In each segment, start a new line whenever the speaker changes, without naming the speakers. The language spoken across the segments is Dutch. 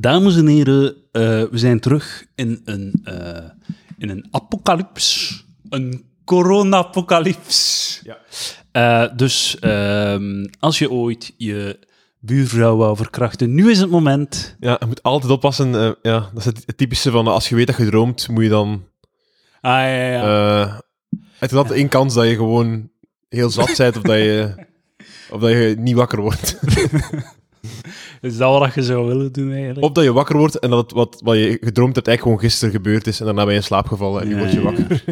Dames en heren, eh, we zijn terug in een, eh, in een apocalyps. Een corona-apocalyps.
Ja.
Eh, dus ehm, als je ooit je buurvrouw wou verkrachten, nu is het moment.
ja, je moet altijd oppassen. eh, ja, dat is het het typische van eh, als je weet dat je droomt, moet je dan.
Ah, ja, ja. ja.
eh het is altijd één kans dat je gewoon heel zat bent of dat je, of dat je niet wakker wordt.
Is dat wat je zou willen doen eigenlijk?
Of dat je wakker wordt en dat het wat, wat je gedroomd hebt eigenlijk gewoon gisteren gebeurd is en daarna ben je in slaap gevallen en nu
Ja,
word je
ja,
wakker.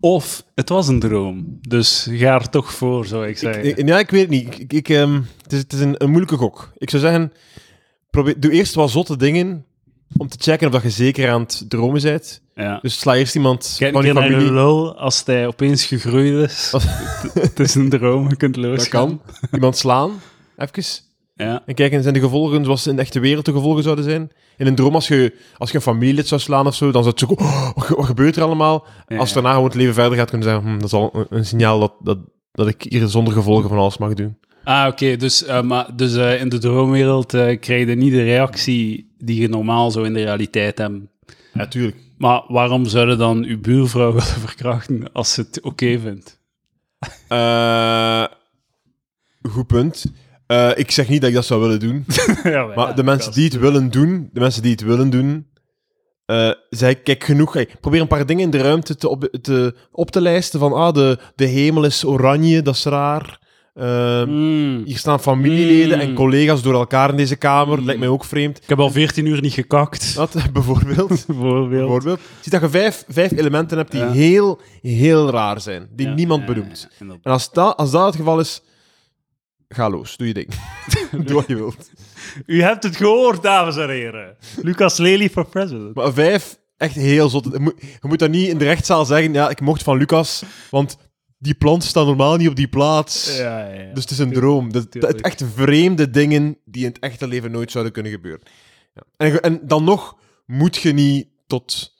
Of het was een droom. Dus ga er toch voor, zou ik zeggen.
Ik- ja, ik weet het niet. Ik, ik, ehm, het is, het is een, een moeilijke gok. Ik zou zeggen, probeer, doe eerst wat zotte dingen om te checken of dat je zeker aan het dromen bent.
ja.
Dus sla eerst iemand
Kijk eh,
van
een
je
keer naar je
familie.
lul als hij opeens gegroeid is.
Als-
Het- het is een droom, je kunt los.
Dat kan. Iemand slaan, even.
Ja.
En kijken, zijn de gevolgen zoals in de echte wereld de gevolgen zouden zijn? In een droom, als je, als je een familielid zou slaan of zo, dan zou het zo... "Oh, wat, ge- wat gebeurt er allemaal?
Ja,
Als daarna gewoon het leven verder gaat, kunnen zeggen... "Hm, dat is al een, een signaal dat, dat, dat ik hier zonder gevolgen van alles mag doen.
Ah, oké. Dus, eh, maar, dus eh, in de droomwereld eh, krijg je niet de reactie die je normaal zo in de realiteit hebt.
Ja, tuurlijk.
Maar waarom zou je dan je buurvrouw willen verkrachten als ze het oké vindt?
Eh, goed punt. Eh, ik zeg niet dat ik dat zou willen doen.
ja,
Maar de mensen die het willen doen, de mensen die het willen doen, eh zij kijk genoeg. hey, probeer een paar dingen in de ruimte te op te, op te lijsten van ah, de, de hemel is oranje, dat is raar. Ehm,
Hmm.
Hier staan familieleden
Mm.
en collega's door elkaar in deze kamer.
Hmm.
Lijkt mij ook vreemd.
Ik heb al 14 uur niet gekakt,
Dat bijvoorbeeld.
bijvoorbeeld.
bijvoorbeeld. Zie dat je vijf, vijf elementen hebt die
Ja.
heel, heel raar zijn. Die
Ja,
niemand
ja,
bedoemt.
ja, inderdaad.
En als dat, als dat het geval is, ga los. Doe je ding. Doe wat je wilt.
U hebt het gehoord, dames en heren. Lucas Lely for president.
Maar vijf, echt heel zot. Je moet, je moet dat niet in de rechtszaal zeggen. Ja, ik mocht van Lucas, want die planten staan normaal niet op die plaats.
Ja, ja, ja.
Dus het is een droom. Dat, dat-
tuurlijk.
echt vreemde dingen die in het echte leven nooit zouden kunnen gebeuren. Ja. En, ge- en dan nog moet je niet tot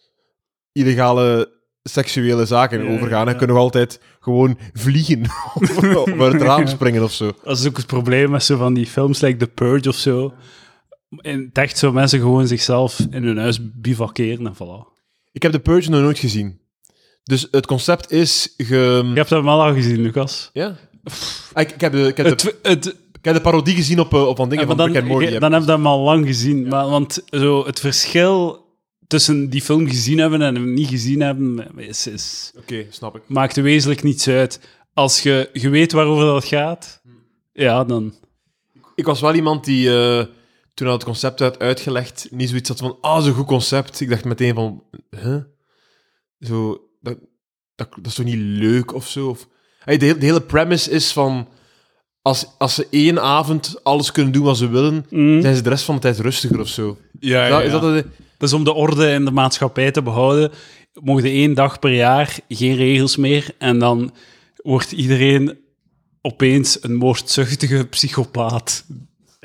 illegale seksuele zaken
Ja,
overgaan.
ja.
Dan kun je nog altijd gewoon vliegen of of uit het raam springen of zo.
Dat is ook het probleem met zo van die films, like The Purge of zo. In het echt zo mensen gewoon zichzelf in hun huis bivakeren en voilà.
Ik heb The Purge nog nooit gezien. Dus het concept is... Ge...
Ik heb dat wel al gezien, Lucas.
Ja? Ah, Ik, ik, heb de, ik, heb de,
Het, het,
ik heb de parodie gezien op, eh, op van dingen
maar
van
dan,
Rick and Morty.
je- dan heb je dat maar al lang gezien. Maar, want zo, het verschil tussen die film gezien hebben en hem niet gezien hebben, is, is,
Oké, snap ik.
maakt wezenlijk niets uit. Als je, je weet waarover dat gaat, ja, dan...
Ik was wel iemand die, eh, toen hij het concept werd uitgelegd, niet zoiets had van, ah, zo'n goed concept. Ik dacht meteen van, huh? Zo, dat, dat, dat is toch niet leuk of zo? Of, Hey, de, hele- de hele premise is van, als, als ze één avond alles kunnen doen wat ze willen,
Mm.
zijn ze de rest van de tijd rustiger of zo.
Ja,
Nou, Is dat- Is dat het-
Dus om de orde in de maatschappij te behouden, mogen we één dag per jaar geen regels meer. En dan wordt iedereen opeens een moordzuchtige psychopaat.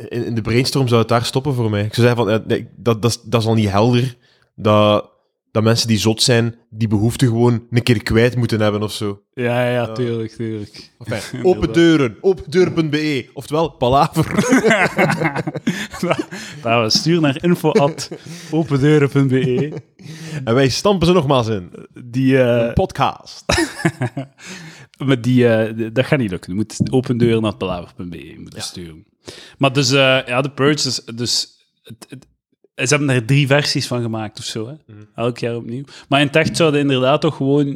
in, in de brainstorm zou het daar stoppen voor mij. Ik zou zeggen van, eh, nee, dat, dat, is- dat is al niet helder. Dat, dat mensen die zot zijn, die behoefte gewoon een keer kwijt moeten hebben of zo.
Ja, ja, tuurlijk, tuurlijk.
Enfin, open deuren, opendeur.be, oftewel palaver.
Nou, we stuur naar info.opendeuren.be.
En wij stampen ze nogmaals in.
Die, eh,
Podcast.
maar die, eh, d- dat gaat niet lukken. Je moet opendeuren naar palaver.be moeten sturen. Maar dus, eh, ja, de Purge is dus... het- het- ze hebben er drie versies van gemaakt of zo, hè?
Mhm.
Elk jaar opnieuw. Maar in het echt zouden inderdaad toch gewoon...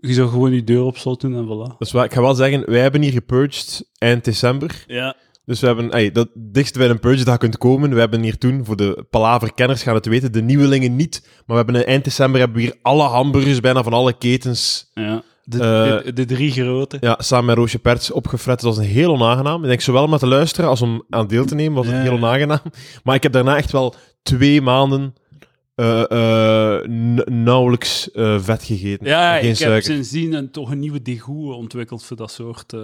Je zou gewoon je deur op slot doen en voilà.
Dat is waar. Dus Ik ga wel zeggen, wij hebben hier gepurged eind december.
Ja.
Dus we hebben, ey, dat dichtst bij een purge dat je kunt komen. We hebben hier toen, voor de palaverkenners gaan het weten, de nieuwelingen niet. Maar we hebben eind december hebben we hier alle hamburgers bijna van alle ketens
ja. De,
Eh,
de, de drie grote.
Ja, samen met Roosje Perts opgefret. Dat was een heel onaangenaam. Ik denk zowel om naar te luisteren als om aan deel te nemen was
Ja,
het heel
ja.
onaangenaam. Maar ik heb daarna echt wel twee maanden eh, eh, n- nauwelijks eh, vet gegeten.
Ja,
En
ik
Geen
heb
suiker.
sindsdien een, toch een nieuwe degoe ontwikkeld voor dat soort... eh,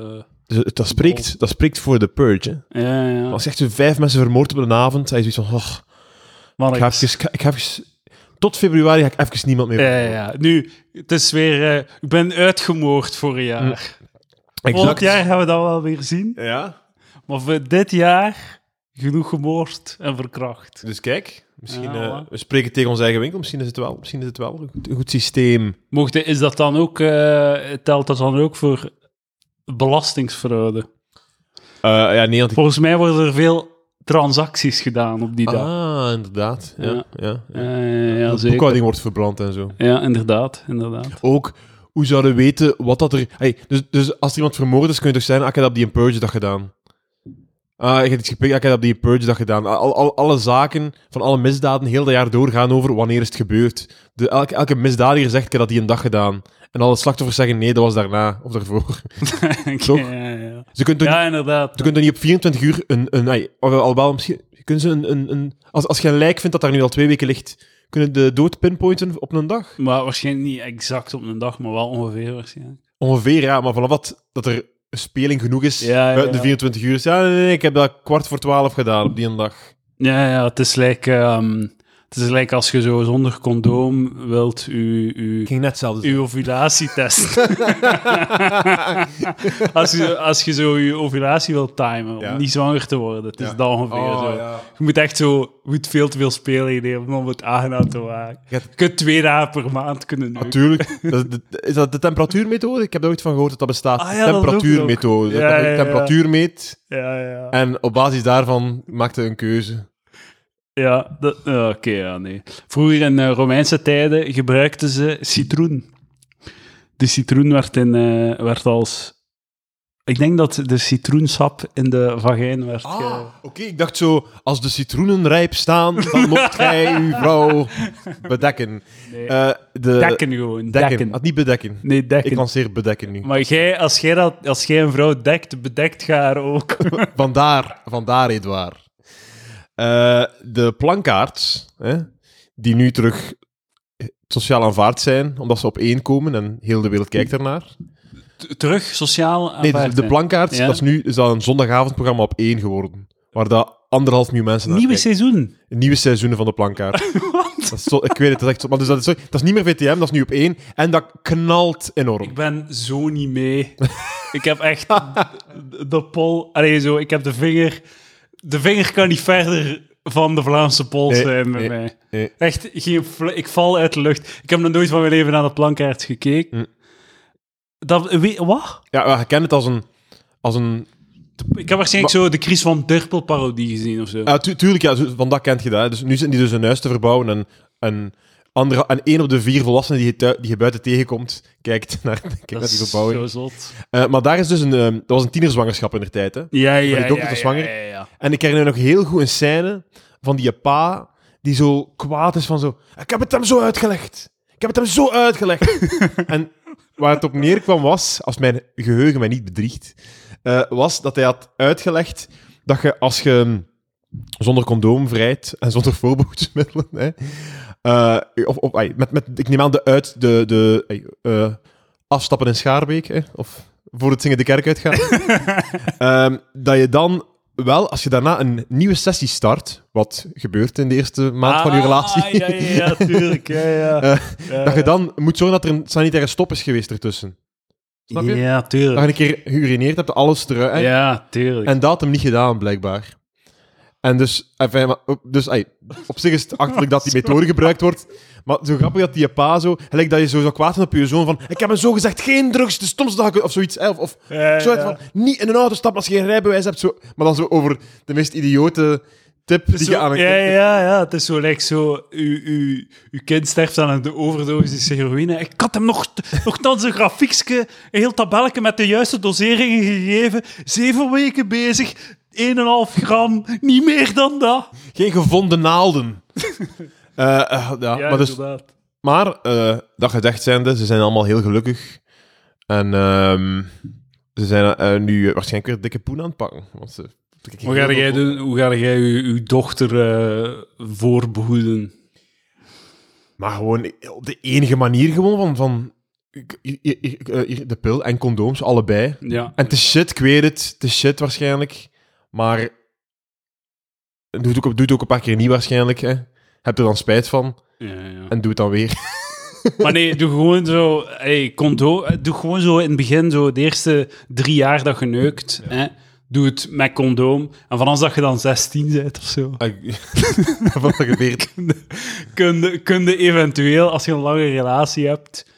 Dus het- dat,
Oh.
spreekt, dat spreekt voor de purge. Hè.
ja, ja.
Als je echt zo vijf mensen vermoord op een avond, hij is zoiets van... "Och,
Maar
ik ga
ik-
even, ik ga- ik ga even- tot februari ga ik even niemand meer
Ja, ja, ja. Nu, het is weer... eh, ik ben uitgemoord voor een jaar.
vermoorden."
Volgend
Exact.
jaar gaan we dat wel weer zien.
Ja.
Maar voor dit jaar genoeg gemoord en verkracht.
Dus kijk, misschien,
Ja,
eh, we spreken tegen onze eigen winkel. Misschien is het wel, misschien is het wel een, goed, een goed systeem.
Mocht, is dat dan ook, eh, telt dat dan ook voor belastingsfraude?
Eh, ja, nee, want ik-
Volgens mij worden er veel transacties gedaan op die dag.
Ah, inderdaad. Ja,
Ja.
ja. ja,
Eh, ja,
De
zeker.
boekhouding wordt verbrand en zo.
Ja, inderdaad, inderdaad.
Ook, hoe zouden we weten wat dat er... Hey, dus, dus als er iemand vermoord is, kun je toch zeggen, ah, ik heb dat op die Purge dag gedaan. Ah, ik heb iets gepikt, ah, ik heb dat op die Purge dag gedaan. Al, al- alle zaken van alle misdaden heel dat jaar doorgaan over wanneer is het gebeurd. De, elke, elke misdadiger zegt, ik heb dat die een dag gedaan. En alle slachtoffers zeggen, nee, dat was daarna of daarvoor. Toch?
Ja, ja, ja.
Ze kunnen toch
ja, inderdaad.
Je kunt er niet op 24 uur een... een ai, of al wel misschien... Kunnen ze een, een, een, als, als je een lijk vindt dat daar nu al twee weken ligt, kunnen de dood pinpointen op een dag?
Maar waarschijnlijk niet exact op een dag, maar wel ongeveer waarschijnlijk.
Ongeveer, ja. Maar vanaf dat, dat er een speling genoeg is,
Ja, ja,
buiten de
ja.
24 uur, is, ja, nee, nee, nee, ik heb dat kwart voor twaalf gedaan op die een dag.
Ja, ja het, is like, ehm, het is like als je zo zonder condoom wilt u, u,
ging net hetzelfde
uw ovulatie testen. als, je, als je zo je ovulatie wilt timen, om
Ja.
niet zwanger te worden. Het is
Ja.
dat ongeveer zo. Je moet echt zo je moet veel te veel spelen hebben om het aangenaam te maken.
Je
Je
hebt- Oh,
kunt twee dagen per maand kunnen neuken.
Natuurlijk. Dat is, de, is dat de temperatuurmethode? Ik heb daar ooit van gehoord dat dat bestaat.
Ah, ja, dat ook
temperatuurmethode.
nog.
Dat
Ja,
je
ja, ja.
temperatuur meet
Ja, ja.
en op basis daarvan maakte een keuze.
ja dat- ja, oké, ja, nee. Vroeger in eh, Romeinse tijden gebruikten ze citroen. De citroen werd, in, eh, werd als... Ik denk dat de citroensap in de vagijn werd...
Ah,
ge-
oké. Ik dacht zo, als de citroenen rijp staan, dan mocht gij uw vrouw bedekken.
Nee.
Eh, de,
dekken gewoon,
Dekken.
dekken.
Ah, niet bedekken.
Nee, dekken.
Ik lanceer bedekken nu.
Maar jij, als, jij dat, als jij een vrouw dekt, bedekt je haar ook.
Vandaar, vandaar Edouard. Eh, de plankaarts, hè, die nu terug sociaal aanvaard zijn, omdat ze op één komen en heel de wereld kijkt ernaar.
Terug, sociaal
Nee, de, de plankaarts,
Ja.
dat is nu is dat een zondagavondprogramma op één geworden. Waar dat anderhalf miljoen mensen naar
Nieuwe
kijken.
seizoen.
Een nieuwe seizoenen van de plankaart. Dat is zo, ik weet het, dat is echt zo. Maar dus dat, is, zo- dat is niet meer VTM, dat is nu op één. En dat knalt enorm.
Ik ben zo niet mee. ik heb echt de, de pol... Allee, zo, ik heb de vinger... De vinger kan niet verder van de Vlaamse pols
Nee,
zijn bij
nee,
mij.
nee.
Echt, geen fl- ik val uit de lucht. Ik heb nog nooit van mijn leven naar de plankaart gekeken.
Mm.
Dat, weet, wat?
Ja, maar je kent het als een... Als een
Ik heb waarschijnlijk zo de Chris van Durpel parodie gezien of zo.
ja, tu- tuurlijk, ja, zo- van dat kent je dat. hè. Dus nu zitten die dus een huis te verbouwen en... en andere, en één op de vier volwassenen die je, thui- die je buiten tegenkomt, kijkt naar, kijkt naar
dat
die
is
verbouwing.
zo zot.
Eh, maar daar is dus een, ehm, dat was een tienerzwangerschap in de tijd. Hè?
Ja, ja,
die dokter
ja,
was
ja,
zwanger.
Ja, ja, ja.
En ik herinner me nog heel goed een scène van die pa die zo kwaad is van zo... Ik heb het hem zo uitgelegd. Ik heb het hem zo uitgelegd. en waar het op neerkwam was, als mijn geheugen mij niet bedriegt, eh, was dat hij had uitgelegd dat je als je zonder condoom vrijt en zonder voorbehoedsmiddelen... Hè, eh, of, of, ai, met, met, ik neem aan de uit... De, de, ai, eh, afstappen in Schaarbeek, hè, of voor het zingen de kerk uitgaan. Ehm, dat je dan wel, als je daarna een nieuwe sessie start, wat gebeurt in de eerste maand van je relatie,
Ah, ja, ja, ja, tuurlijk. Ja, ja.
Eh,
Ja,
dat je
ja.
dan moet zorgen dat er een sanitaire stop is geweest ertussen. Snap je?
Ja,
Dat je
tuurlijk.
een keer geurineerd hebt, alles eruit.
Ja, tuurlijk.
En dat had hem niet gedaan, blijkbaar. En dus, enfin, maar- dus ai, op zich is het achterlijk dat
Oh,
die methode gebruikt wordt. Maar zo grappig dat die pa zo... Gelijk dat je zo zou kwaad zijn op je zoon van... Ik heb hem zo gezegd, geen drugs, de stomste dag ik- Of zoiets. hè, Of, of
Ja,
zo uit
ja.
van, niet in een auto stappen als je geen rijbewijs hebt. Zo, maar dan zo over de meest idiote tip die
Zo-
je aan een...
ja, ja, ja. Het is zo, like, zo uw, uw, uw kind sterft aan een overdosis heroïne. Ik had hem nog, nogthans een grafiekje, een heel tabelletje met de juiste doseringen gegeven. Zeven weken bezig, 1,5 gram, niet meer dan dat.
Geen gevonden naalden. Eh, eh, ja, maar dus,
inderdaad.
Maar, eh, dat gezegd zijnde, ze zijn allemaal heel gelukkig. En ehm, ze zijn eh, nu waarschijnlijk weer dikke poen aan het pakken. Want ze,
Hoe ga jij, doen, hoe ga jij uw, uw dochter eh, voorbehoeden?
Maar gewoon op de enige manier gewoon van... van hier- hier- hier- eh, hier, de pil en condooms, allebei.
Ja.
En te shit, ik weet het. Te shit waarschijnlijk. Maar... Doe het ook, doe het ook een paar keer niet waarschijnlijk. Hè. Heb er dan spijt van.
ja, ja.
En doe het dan weer.
Maar nee, doe gewoon zo. eh, Hey, condo, doe gewoon zo in het begin, zo de eerste drie jaar dat je neukt. Hè, Doe het met condoom. En vanaf dat je dan 16 bent of zo,
Wat er gebeurt.
kun je, kun je eventueel, als je een lange relatie hebt...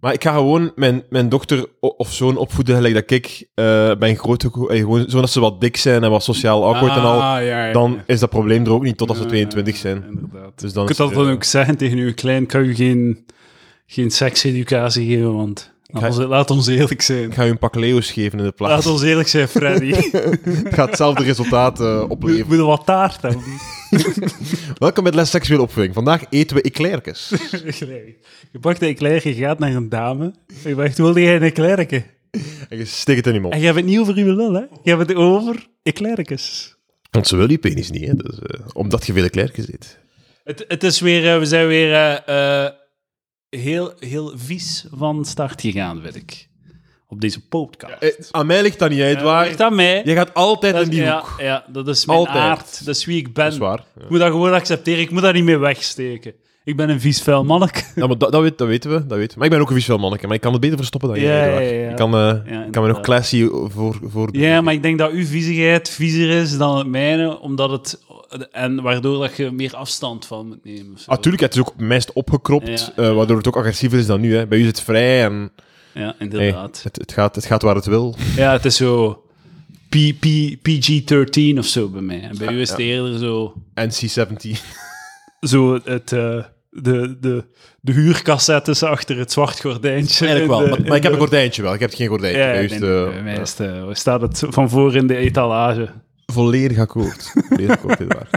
Maar ik ga gewoon mijn, mijn dochter o- of zoon opvoeden, gelijk dat ik eh ben grootgekomen. eh, gewoon zodat ze wat dik zijn en wat sociaal awkward en al.
Ah, ja, ja,
Dan
ja.
is dat probleem er ook niet totdat ze
Ja,
22 zijn.
ja, Inderdaad.
Dus dan
je kunt
is-
dat dan
ja.
ook zeggen tegen uw klein, kan je geen, geen sekseducatie geven, want
ga-
laat ons- laat ons eerlijk zijn.
Ik ga je een pak Leo's geven in de plaats.
Laat ons eerlijk zijn, Freddy.
Het gaat hetzelfde resultaat eh,
We
opleveren.
moeten wat taart hebben.
Welkom bij Les Seksuele Opvoeding. Vandaag eten we eclairkes.
je pakt een eclair, je gaat naar een dame. Je zegt, wilde jij een eclairke?
En je steekt het in je mond.
En jij hebt het niet over uw lul, hè? Je hebt het over eclairkes.
Want ze wil die penis niet, hè. Dus, eh, omdat je veel eclairkes eet.
Het, het is weer, eh, we zijn weer eh, eh, heel, heel vies van start gegaan, weet ik. Op deze podcast.
Eh, aan mij ligt dat niet uit, waar.
Ligt aan mij.
Je gaat altijd
Dat-
in die
ja,
hoek.
ja, dat is mijn
Altijd.
aard. Dat is wie ik ben.
Dat is waar. Ja.
Ik moet dat gewoon accepteren. Ik moet daar niet mee wegsteken. Ik ben een vies vuil manneke.
Ja, maar dat, dat, weet, dat weten we, dat weten we. Maar ik ben ook een visueel manneke, maar ik kan het beter verstoppen dan
Ja,
jij.
ja,
Eduard.
ja.
Ik kan, eh, ik kan me nog
inderdaad.
classy voor... voor
Ja, maar ik denk dat uw viezigheid viezer is dan het mijne, omdat het... En waardoor dat je meer afstand van moet nemen. of zo.
Natuurlijk, Ah, het is ook meest opgekropt,
Ja,
eh, waardoor het ook agressiever is dan nu. Hè. Bij u is het vrij en
Ja,
hey,
inderdaad.
het, het, gaat, het gaat waar het wil.
Ja, het is zo P, P, PG-13 of zo bij mij. En bij u is het
ja.
eerder zo...
NC-17.
Zo het... eh, de, de, de huurcassettes achter het zwart gordijntje.
Eigenlijk
in
wel,
de-
maar,
in
maar ik heb
de-
een gordijntje wel. Ik heb geen gordijntje.
Ja,
Bij
nee,
u is het,
nee,
eh,
bij mij is het, eh, staat het van voor in de etalage.
Volledig akkoord. Volledig akkoord, Eduard.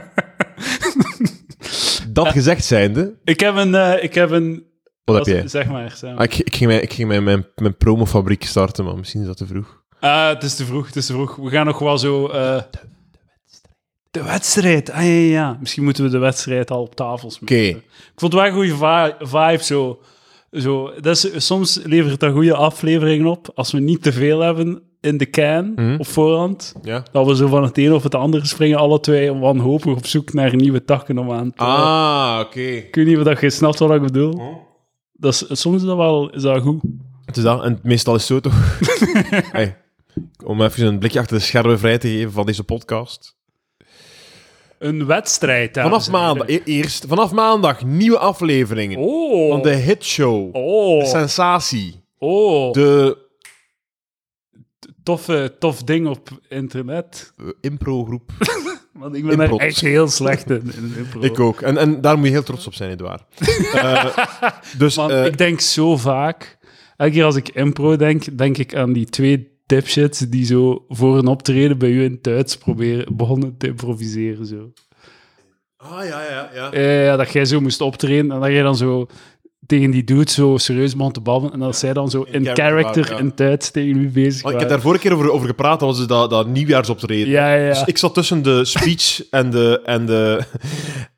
Dat gezegd zijnde,
Ik heb een... eh, ik heb een
wat
als-
heb jij?
Zeg maar. Zeg maar.
Ah, ik, ik ging, mijn, ik ging mijn, mijn, mijn promofabriek starten, maar misschien is dat te vroeg.
Ah, het is te vroeg, het is te vroeg. We gaan nog wel zo... eh, de wedstrijd. Ah, ja, ja, ja. Misschien moeten we de wedstrijd al op tafel smeren.
Oké.
Ik vond het wel een goede va- vibe, zo. zo dat is, soms levert dat goede afleveringen op, als we niet te veel hebben in de can,
Mhm.
op voorhand.
Ja?
Dat we zo van het een of het andere springen, alle twee wanhopig op zoek naar nieuwe takken om aan te...
Ah, oké.
Ik weet niet of dat je snapt wat ik bedoel. Dat is, soms is dat wel is dat goed.
Het is dat, en meestal is het zo toch? Hey, om even een blikje achter de schermen vrij te geven van deze podcast.
Een wedstrijd, dames
Vanaf
en heren.
maandag, e- eerst, vanaf maandag nieuwe afleveringen
Oh.
van de hitshow. De
Oh.
sensatie.
Oh.
De
Toffe, tof ding op internet.
eh, improgroep.
Want ik ben
Improv.
daar echt heel slecht in. in impro.
Ik ook. En, en daar moet je heel trots op zijn, Edouard. Eh, dus
Want
eh,
ik denk zo vaak, elke keer als ik impro denk, denk ik aan die twee dipshits die zo voor een optreden bij u in het Duits proberen, begonnen te improviseren. Zo.
Ah, ja, ja, ja.
Ja, ja, dat jij zo moest optreden en dat jij dan zo tegen die dude zo serieus begon te babbelen en dat zij dan zo in,
character
character,
waren, ja.
in het Duits tegen u bezig
Want ik heb
waren.
daar vorige keer over, over gepraat, dat was dus dat, dat nieuwjaarsoptreden.
Ja, ja, ja.
Dus ik zat tussen de speech en de, en de,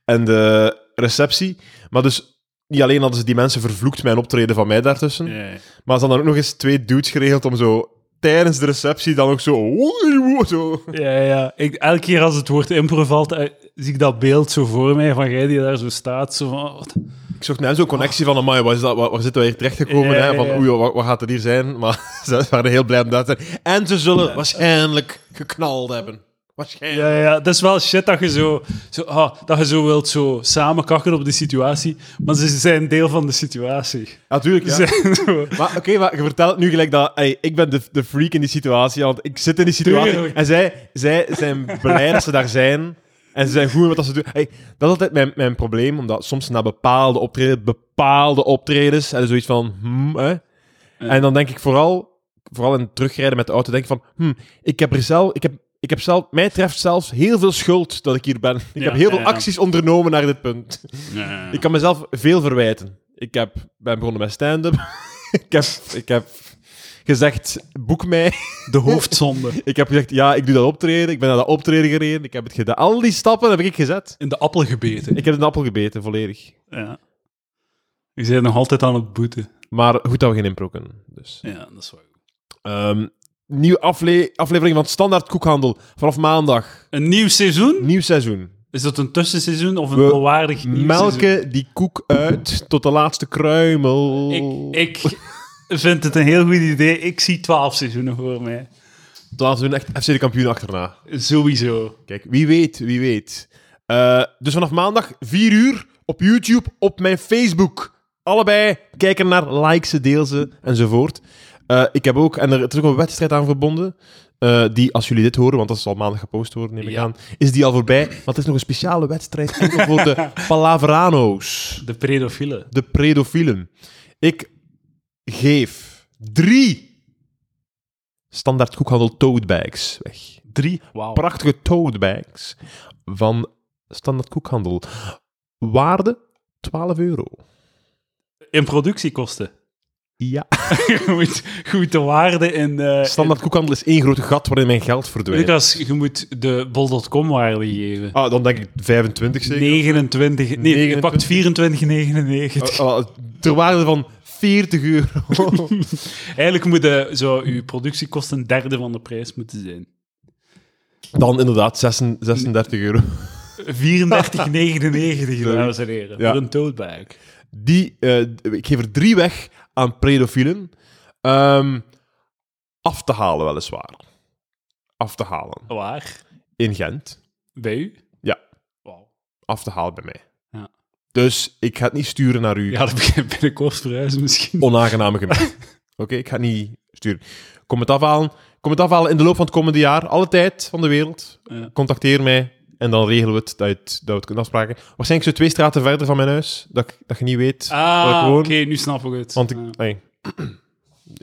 en de receptie. Maar dus niet alleen hadden ze die mensen vervloekt met een optreden van mij daartussen,
Ja, ja.
maar ze hadden ook nog eens twee dudes geregeld om zo tijdens de receptie dan ook zo... oei, oei, zo.
Ja, ja. Ik, elke keer als het woord impro valt, eh, zie ik dat beeld zo voor mij van jij die daar zo staat. Zo van, "Oh, wat-
Ik zocht net zo'n connectie van, amai, waar, is dat, waar, waar zitten wij hier terechtgekomen?
Ja, ja,
hè? Van,
ja.
oei, wat, wat gaat er hier zijn? Maar ze waren heel blij om daar te zijn. En ze zullen waarschijnlijk geknald hebben. Waarschijnlijk.
Ja, ja, ja, dat is wel shit dat je zo, zo, ah, dat je zo wilt zo samenkakken op die situatie, maar ze zijn deel van de situatie.
Natuurlijk,
Ze
ja.
zijn zo-
Maar oké, maar je vertelt het nu gelijk dat ey, ik ben de, de freak in die situatie, want ik zit in die situatie.
Tuurlijk.
En zij, zij zijn blij dat ze daar zijn. En ze zijn goed in wat dat ze doen. Ey, dat is altijd mijn, mijn probleem, omdat soms na bepaalde optreden, bepaalde optredens, en zoiets van, hmm, hè. En dan denk ik vooral, vooral in het terugrijden met de auto, denk ik van, hmm, ik heb er zelf, ik heb, ik heb zelf, mij treft zelfs heel veel schuld dat ik hier ben. Ik
Ja,
heb heel
ja,
veel
ja.
acties ondernomen naar dit punt.
Ja.
Ik kan mezelf veel verwijten. Ik heb, ben begonnen met stand-up. ik, heb, ik heb gezegd, boek mij.
De hoofdzonde.
Ik heb gezegd, ja, ik doe dat optreden. Ik ben naar dat optreden gereden. Ik heb het gedaan. Al die stappen heb ik gezet.
In de appel gebeten.
Ik heb een appel gebeten, volledig.
Ja. Je bent nog altijd aan het boeten.
Maar goed dat we geen impro kunnen. Dus.
Ja, dat is wel goed.
Ehm, nieuwe afle- aflevering van Standaard Koekhandel. Vanaf maandag.
Een nieuw seizoen?
Nieuw seizoen.
Is dat een tussenseizoen of een
We
volwaardig nieuw seizoen?
Melken die koek uit tot de laatste kruimel.
Ik, ik vind het een heel goed idee. Ik zie twaalf seizoenen voor mij.
Dan laten we een echt FC de kampioen achterna.
Sowieso.
Kijk, wie weet, wie weet. Eh, dus vanaf maandag 4 uur op YouTube, op mijn Facebook. Allebei kijken naar, like ze, deel ze enzovoort. Eh, ik heb ook, en er is ook een wedstrijd aan verbonden. eh, die, als jullie dit horen, want dat zal maandag gepost worden, neem ik
Ja.
aan, is die al voorbij. Want het is nog een speciale wedstrijd enkel voor de Palaveranos,
De predofielen.
de predofielen. Ik geef drie standaard koekhandel toadbags weg
Drie. Wauw.
prachtige tote bags van Standaard Koekhandel. Waarde 12 euro.
In productiekosten.
Ja.
je, moet, je moet de waarde in... eh,
Eh, Standaard Koekhandel is één groot gat waarin mijn geld
in-
verdwijnt.
Lucas, je moet de bol.com waarde geven.
Ah, dan denk ik 25 zeker.
29... Nee, je
29.
pakt 24,99.
Ah, ah, ter waarde van 40 euro. Ah.
Eigenlijk moet je zo, je productiekosten een derde van de prijs moeten zijn.
dan inderdaad 36, 36 euro.
34,99, dames en heren.
Ja.
Voor een toadbag.
Die, eh, ik geef er drie weg aan predofielen. Ehm, af te halen weliswaar. Af te halen.
Waar?
In Gent.
Bij u?
Ja.
Wauw.
Af te halen bij mij.
Ja.
Dus ik ga het niet sturen naar u.
Ja, dat begint binnenkort verhuizen misschien.
onaangename gemis. Oké, ik ga het niet sturen. Kom het afhalen. Kom het afhalen in de loop van het komende jaar. Alle tijd van de wereld.
Ja.
Contacteer mij en dan regelen we het dat, je het, dat we het kunnen afspraken. Waarschijnlijk zo twee straten verder van mijn huis. Dat, ik- dat je niet weet waar ik
Ah,
woon.
oké, nu snap ik het.
Want ik,
Ja.
nee.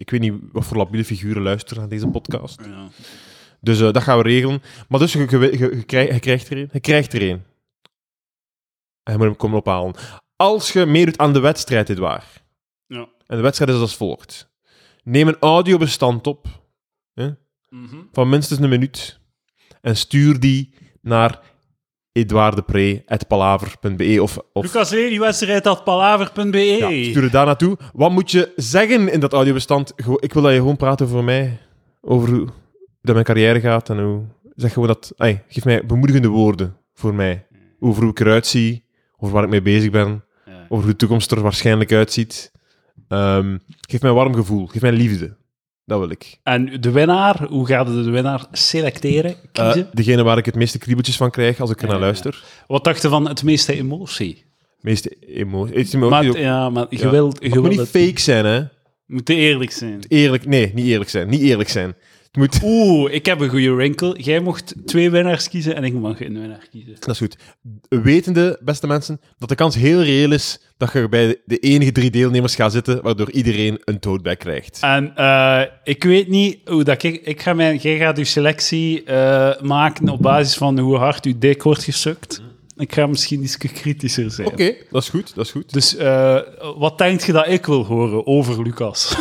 ik weet niet wat voor labiele figuren luisteren naar deze podcast.
Ja.
Dus eh, dat gaan we regelen. Maar dus, je, je, je, je krijg- je krijgt er een. Je krijgt er een. En je moet hem komen ophalen. Als je meedoet aan de wedstrijd, dit waar.
Ja.
En de wedstrijd is als volgt. Neem een audiobestand op
Mhm.
van minstens een minuut en stuur die naar edouardepre.palaver.be E of, of
Lucas Lee, die wedstrijd had palaver.be.
ja, stuur het daar naartoe. Wat moet je zeggen in dat audiobestand? Gewo- Ik wil dat je gewoon praat over mij, over hoe dat mijn carrière gaat en hoe... Zeg gewoon dat... Ay, geef mij bemoedigende woorden voor mij. Over hoe ik eruit zie, over waar ik mee bezig ben,
Ja.
over hoe de toekomst er waarschijnlijk uitziet. Ehm, geef mij een warm gevoel, geef mij liefde. Dat wil ik.
En de winnaar, hoe gaat het de winnaar selecteren,
Eh,
kiezen?
degene waar ik het meeste kriebeltjes van krijg als ik er naar
Ja, ja, ja.
luister.
Wat dacht je van het meeste emotie?
meeste emotie. Het is me ook
Maar,
niet op-
ja, maar je
Ja.
wil,
het
je
moet
wil
niet
het-
fake zijn, hè?
moet eerlijk zijn.
Eerlijk, nee, niet eerlijk zijn. Niet eerlijk zijn. Het moet.
Oeh, ik heb een goede winkel. Jij mocht twee winnaars kiezen en ik mag een winnaar kiezen.
Dat is goed. Wetende, beste mensen, dat de kans heel reëel is dat je bij de enige drie deelnemers gaat zitten, waardoor iedereen een toadbag krijgt.
En eh, ik weet niet hoe dat ik... ik ga mijn, jij gaat uw selectie eh, maken op basis van hoe hard uw dik wordt gesukt. Ik ga misschien iets kritischer zijn.
Oké, dat is goed, dat is goed.
Dus eh, wat denk je dat ik wil horen over Lucas?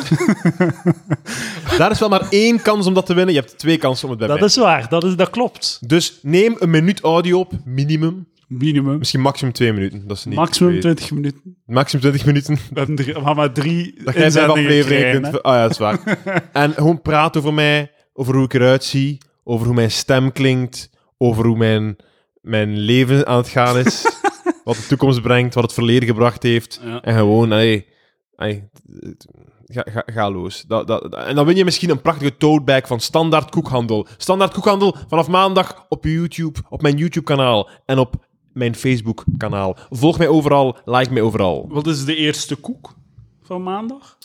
Daar is wel maar één kans om dat te winnen. Je hebt twee kansen om het bij
dat
mij.
is waar, dat, is, dat klopt.
Dus neem een minuut audio op, minimum.
Minimum.
Misschien maximum twee minuten. Dat is niet
Maximum
twee-
20 minuten.
maximum 20 minuten.
We hebben drie, we gaan maar drie
Dat jij zijn
inzendingen
aflevering
krijgen,
kunt... Ah ja, dat is waar. en gewoon praat over mij, over hoe ik eruit zie, over hoe mijn stem klinkt, over hoe mijn, mijn leven aan het gaan is, wat de toekomst brengt, wat het verleden gebracht heeft.
hè. Ja.
En gewoon, hey, hey, ga, ga, ga los. Dat, dat, en dan win je misschien een prachtige toadbag van Standaard Koekhandel. Standaard Koekhandel vanaf maandag op YouTube, op mijn YouTube-kanaal en op mijn Facebook-kanaal. Volg mij overal, like mij overal.
Wat is de eerste koek van maandag?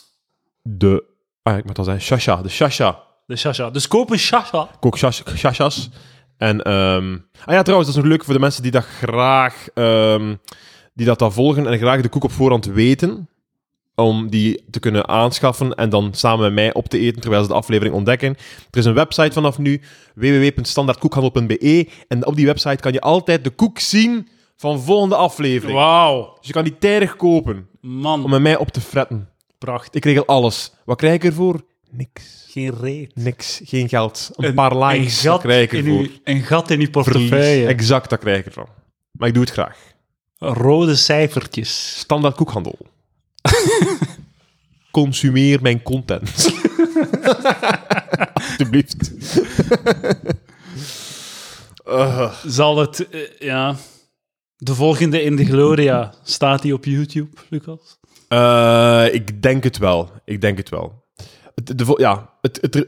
de. Ah, ik moet al zeggen, Shasha. De Shasha.
De Shasha. Dus koop een Shasha.
Kook shash- Shashas. En. ehm, ah ja, trouwens, dat is nog leuk voor de mensen die dat graag. ehm, die dat dan volgen en graag de koek op voorhand weten. Om die te kunnen aanschaffen en dan samen met mij op te eten terwijl ze de aflevering ontdekken. Er is een website vanaf nu, www.standaardkoekhandel.be. En op die website kan je altijd de koek zien van volgende aflevering.
Wauw.
Dus je kan die tijdig kopen om
Man,
met mij op te fretten.
prachtig.
Ik regel alles. Wat krijg ik ervoor? Niks.
Geen reet.
Niks, geen geld. Een, paar likes, dat krijg ik
in
ervoor.
uw, een gat in uw
Verlies.
portefeuille.
Exact, dat krijg ik ervan. Maar ik doe het graag.
Rode cijfertjes.
Standaard koekhandel. Consumeer mijn content. Alsjeblieft. Eh,
Zal het, eh, ja... De volgende in de Gloria, staat die op YouTube, Lucas?
eh, ik denk het wel. Ik denk het wel. Het, de, vo- ja, het, het, het,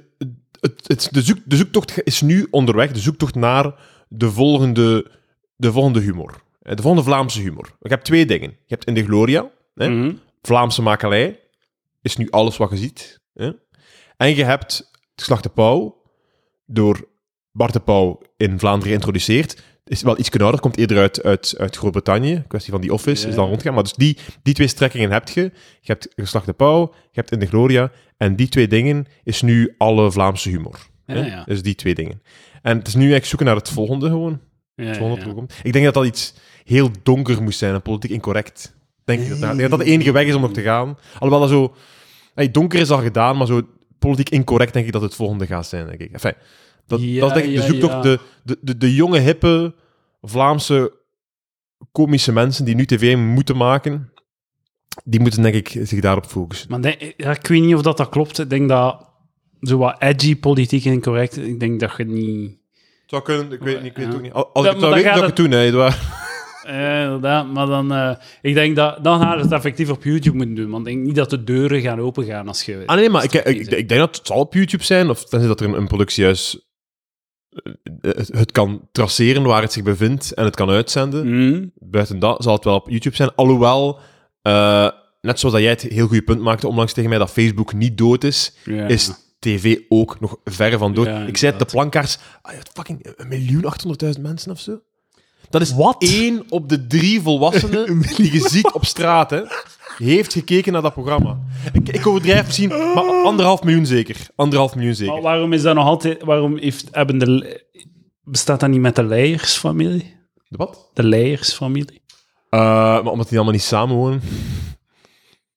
het, het, de, zoek, de zoektocht ge- is nu onderweg, de zoektocht naar de volgende, de volgende humor. Eh, De volgende Vlaamse humor. Je hebt twee dingen. Je hebt In de Gloria, hè?
Mhm.
Vlaamse makelij, is nu alles wat je ziet. Hè? En je hebt het geslacht de Pauw, door Bart de Pauw in Vlaanderen geïntroduceerd. Is wel iets ouder, komt eerder uit, uit, uit Groot-Brittannië. Kwestie van die office,
Ja.
is dan rondgaan. Maar dus die, die twee strekkingen heb je. Je hebt geslacht de Pauw, je hebt In de Gloria. En die twee dingen is nu alle Vlaamse humor.
Ja,
hè?
ja.
Dus die twee dingen. En het is nu eigenlijk zoeken naar het volgende gewoon.
Ja,
Het
ja,
volgende
ja.
dat er komt. Ik denk dat dat iets heel donker moest zijn en politiek incorrect. Denk ik dat, dat- ik denk dat dat de enige weg is om nog te gaan. Alhoewel dat zo... hey, donker is al gedaan, maar zo politiek incorrect denk ik dat het volgende gaat zijn, denk ik. Enfin, dat,
Ja,
dat is denk ik
ja,
de zoektocht.
ja.
De, de, de, de jonge, hippe, Vlaamse, komische mensen die nu tv moeten maken, die moeten denk ik zich daarop focussen.
Maar denk- ja, ik weet niet of dat, dat klopt. Ik denk dat zo wat edgy politiek incorrect, ik denk dat je niet...
zou kunnen, ik weet, ik weet het ook niet. Als
maar
ik het
dan
zou weten,
gaat
zou ik het doen, hè, Edouard.
Eh, inderdaad, maar dan, eh, ik denk dat dan gaan we het effectief op YouTube moeten doen. Want ik denk niet dat de deuren gaan opengaan als je...
Ah nee, maar ik, ik,
niet
ik,
zijn.
ik denk dat het zal op YouTube zijn, of tenzij dat er een, een productie juist eh, het, het kan traceren waar het zich bevindt en het kan uitzenden.
Mhm.
Buiten dat zal het wel op YouTube zijn. Alhoewel, eh, net zoals dat jij het heel goede punt maakte onlangs tegen mij, dat Facebook niet dood is,
Ja.
is tv ook nog ver van dood.
Ja,
ik zei het, de
inderdaad.
plankaars, ah, ja, fucking een miljoen 800.000 mensen of zo. Dat is
Wat?
één op de drie volwassenen die je ziet op straat, hè, heeft gekeken naar dat programma. Ik, ik overdrijf misschien, maar anderhalf miljoen zeker. Anderhalf miljoen
Maar
zeker.
waarom is dat nog altijd... Waarom heeft, hebben de, le- bestaat dat niet met de leiersfamilie?
Wat?
De leiersfamilie?
Eh, maar omdat die allemaal niet samenwonen.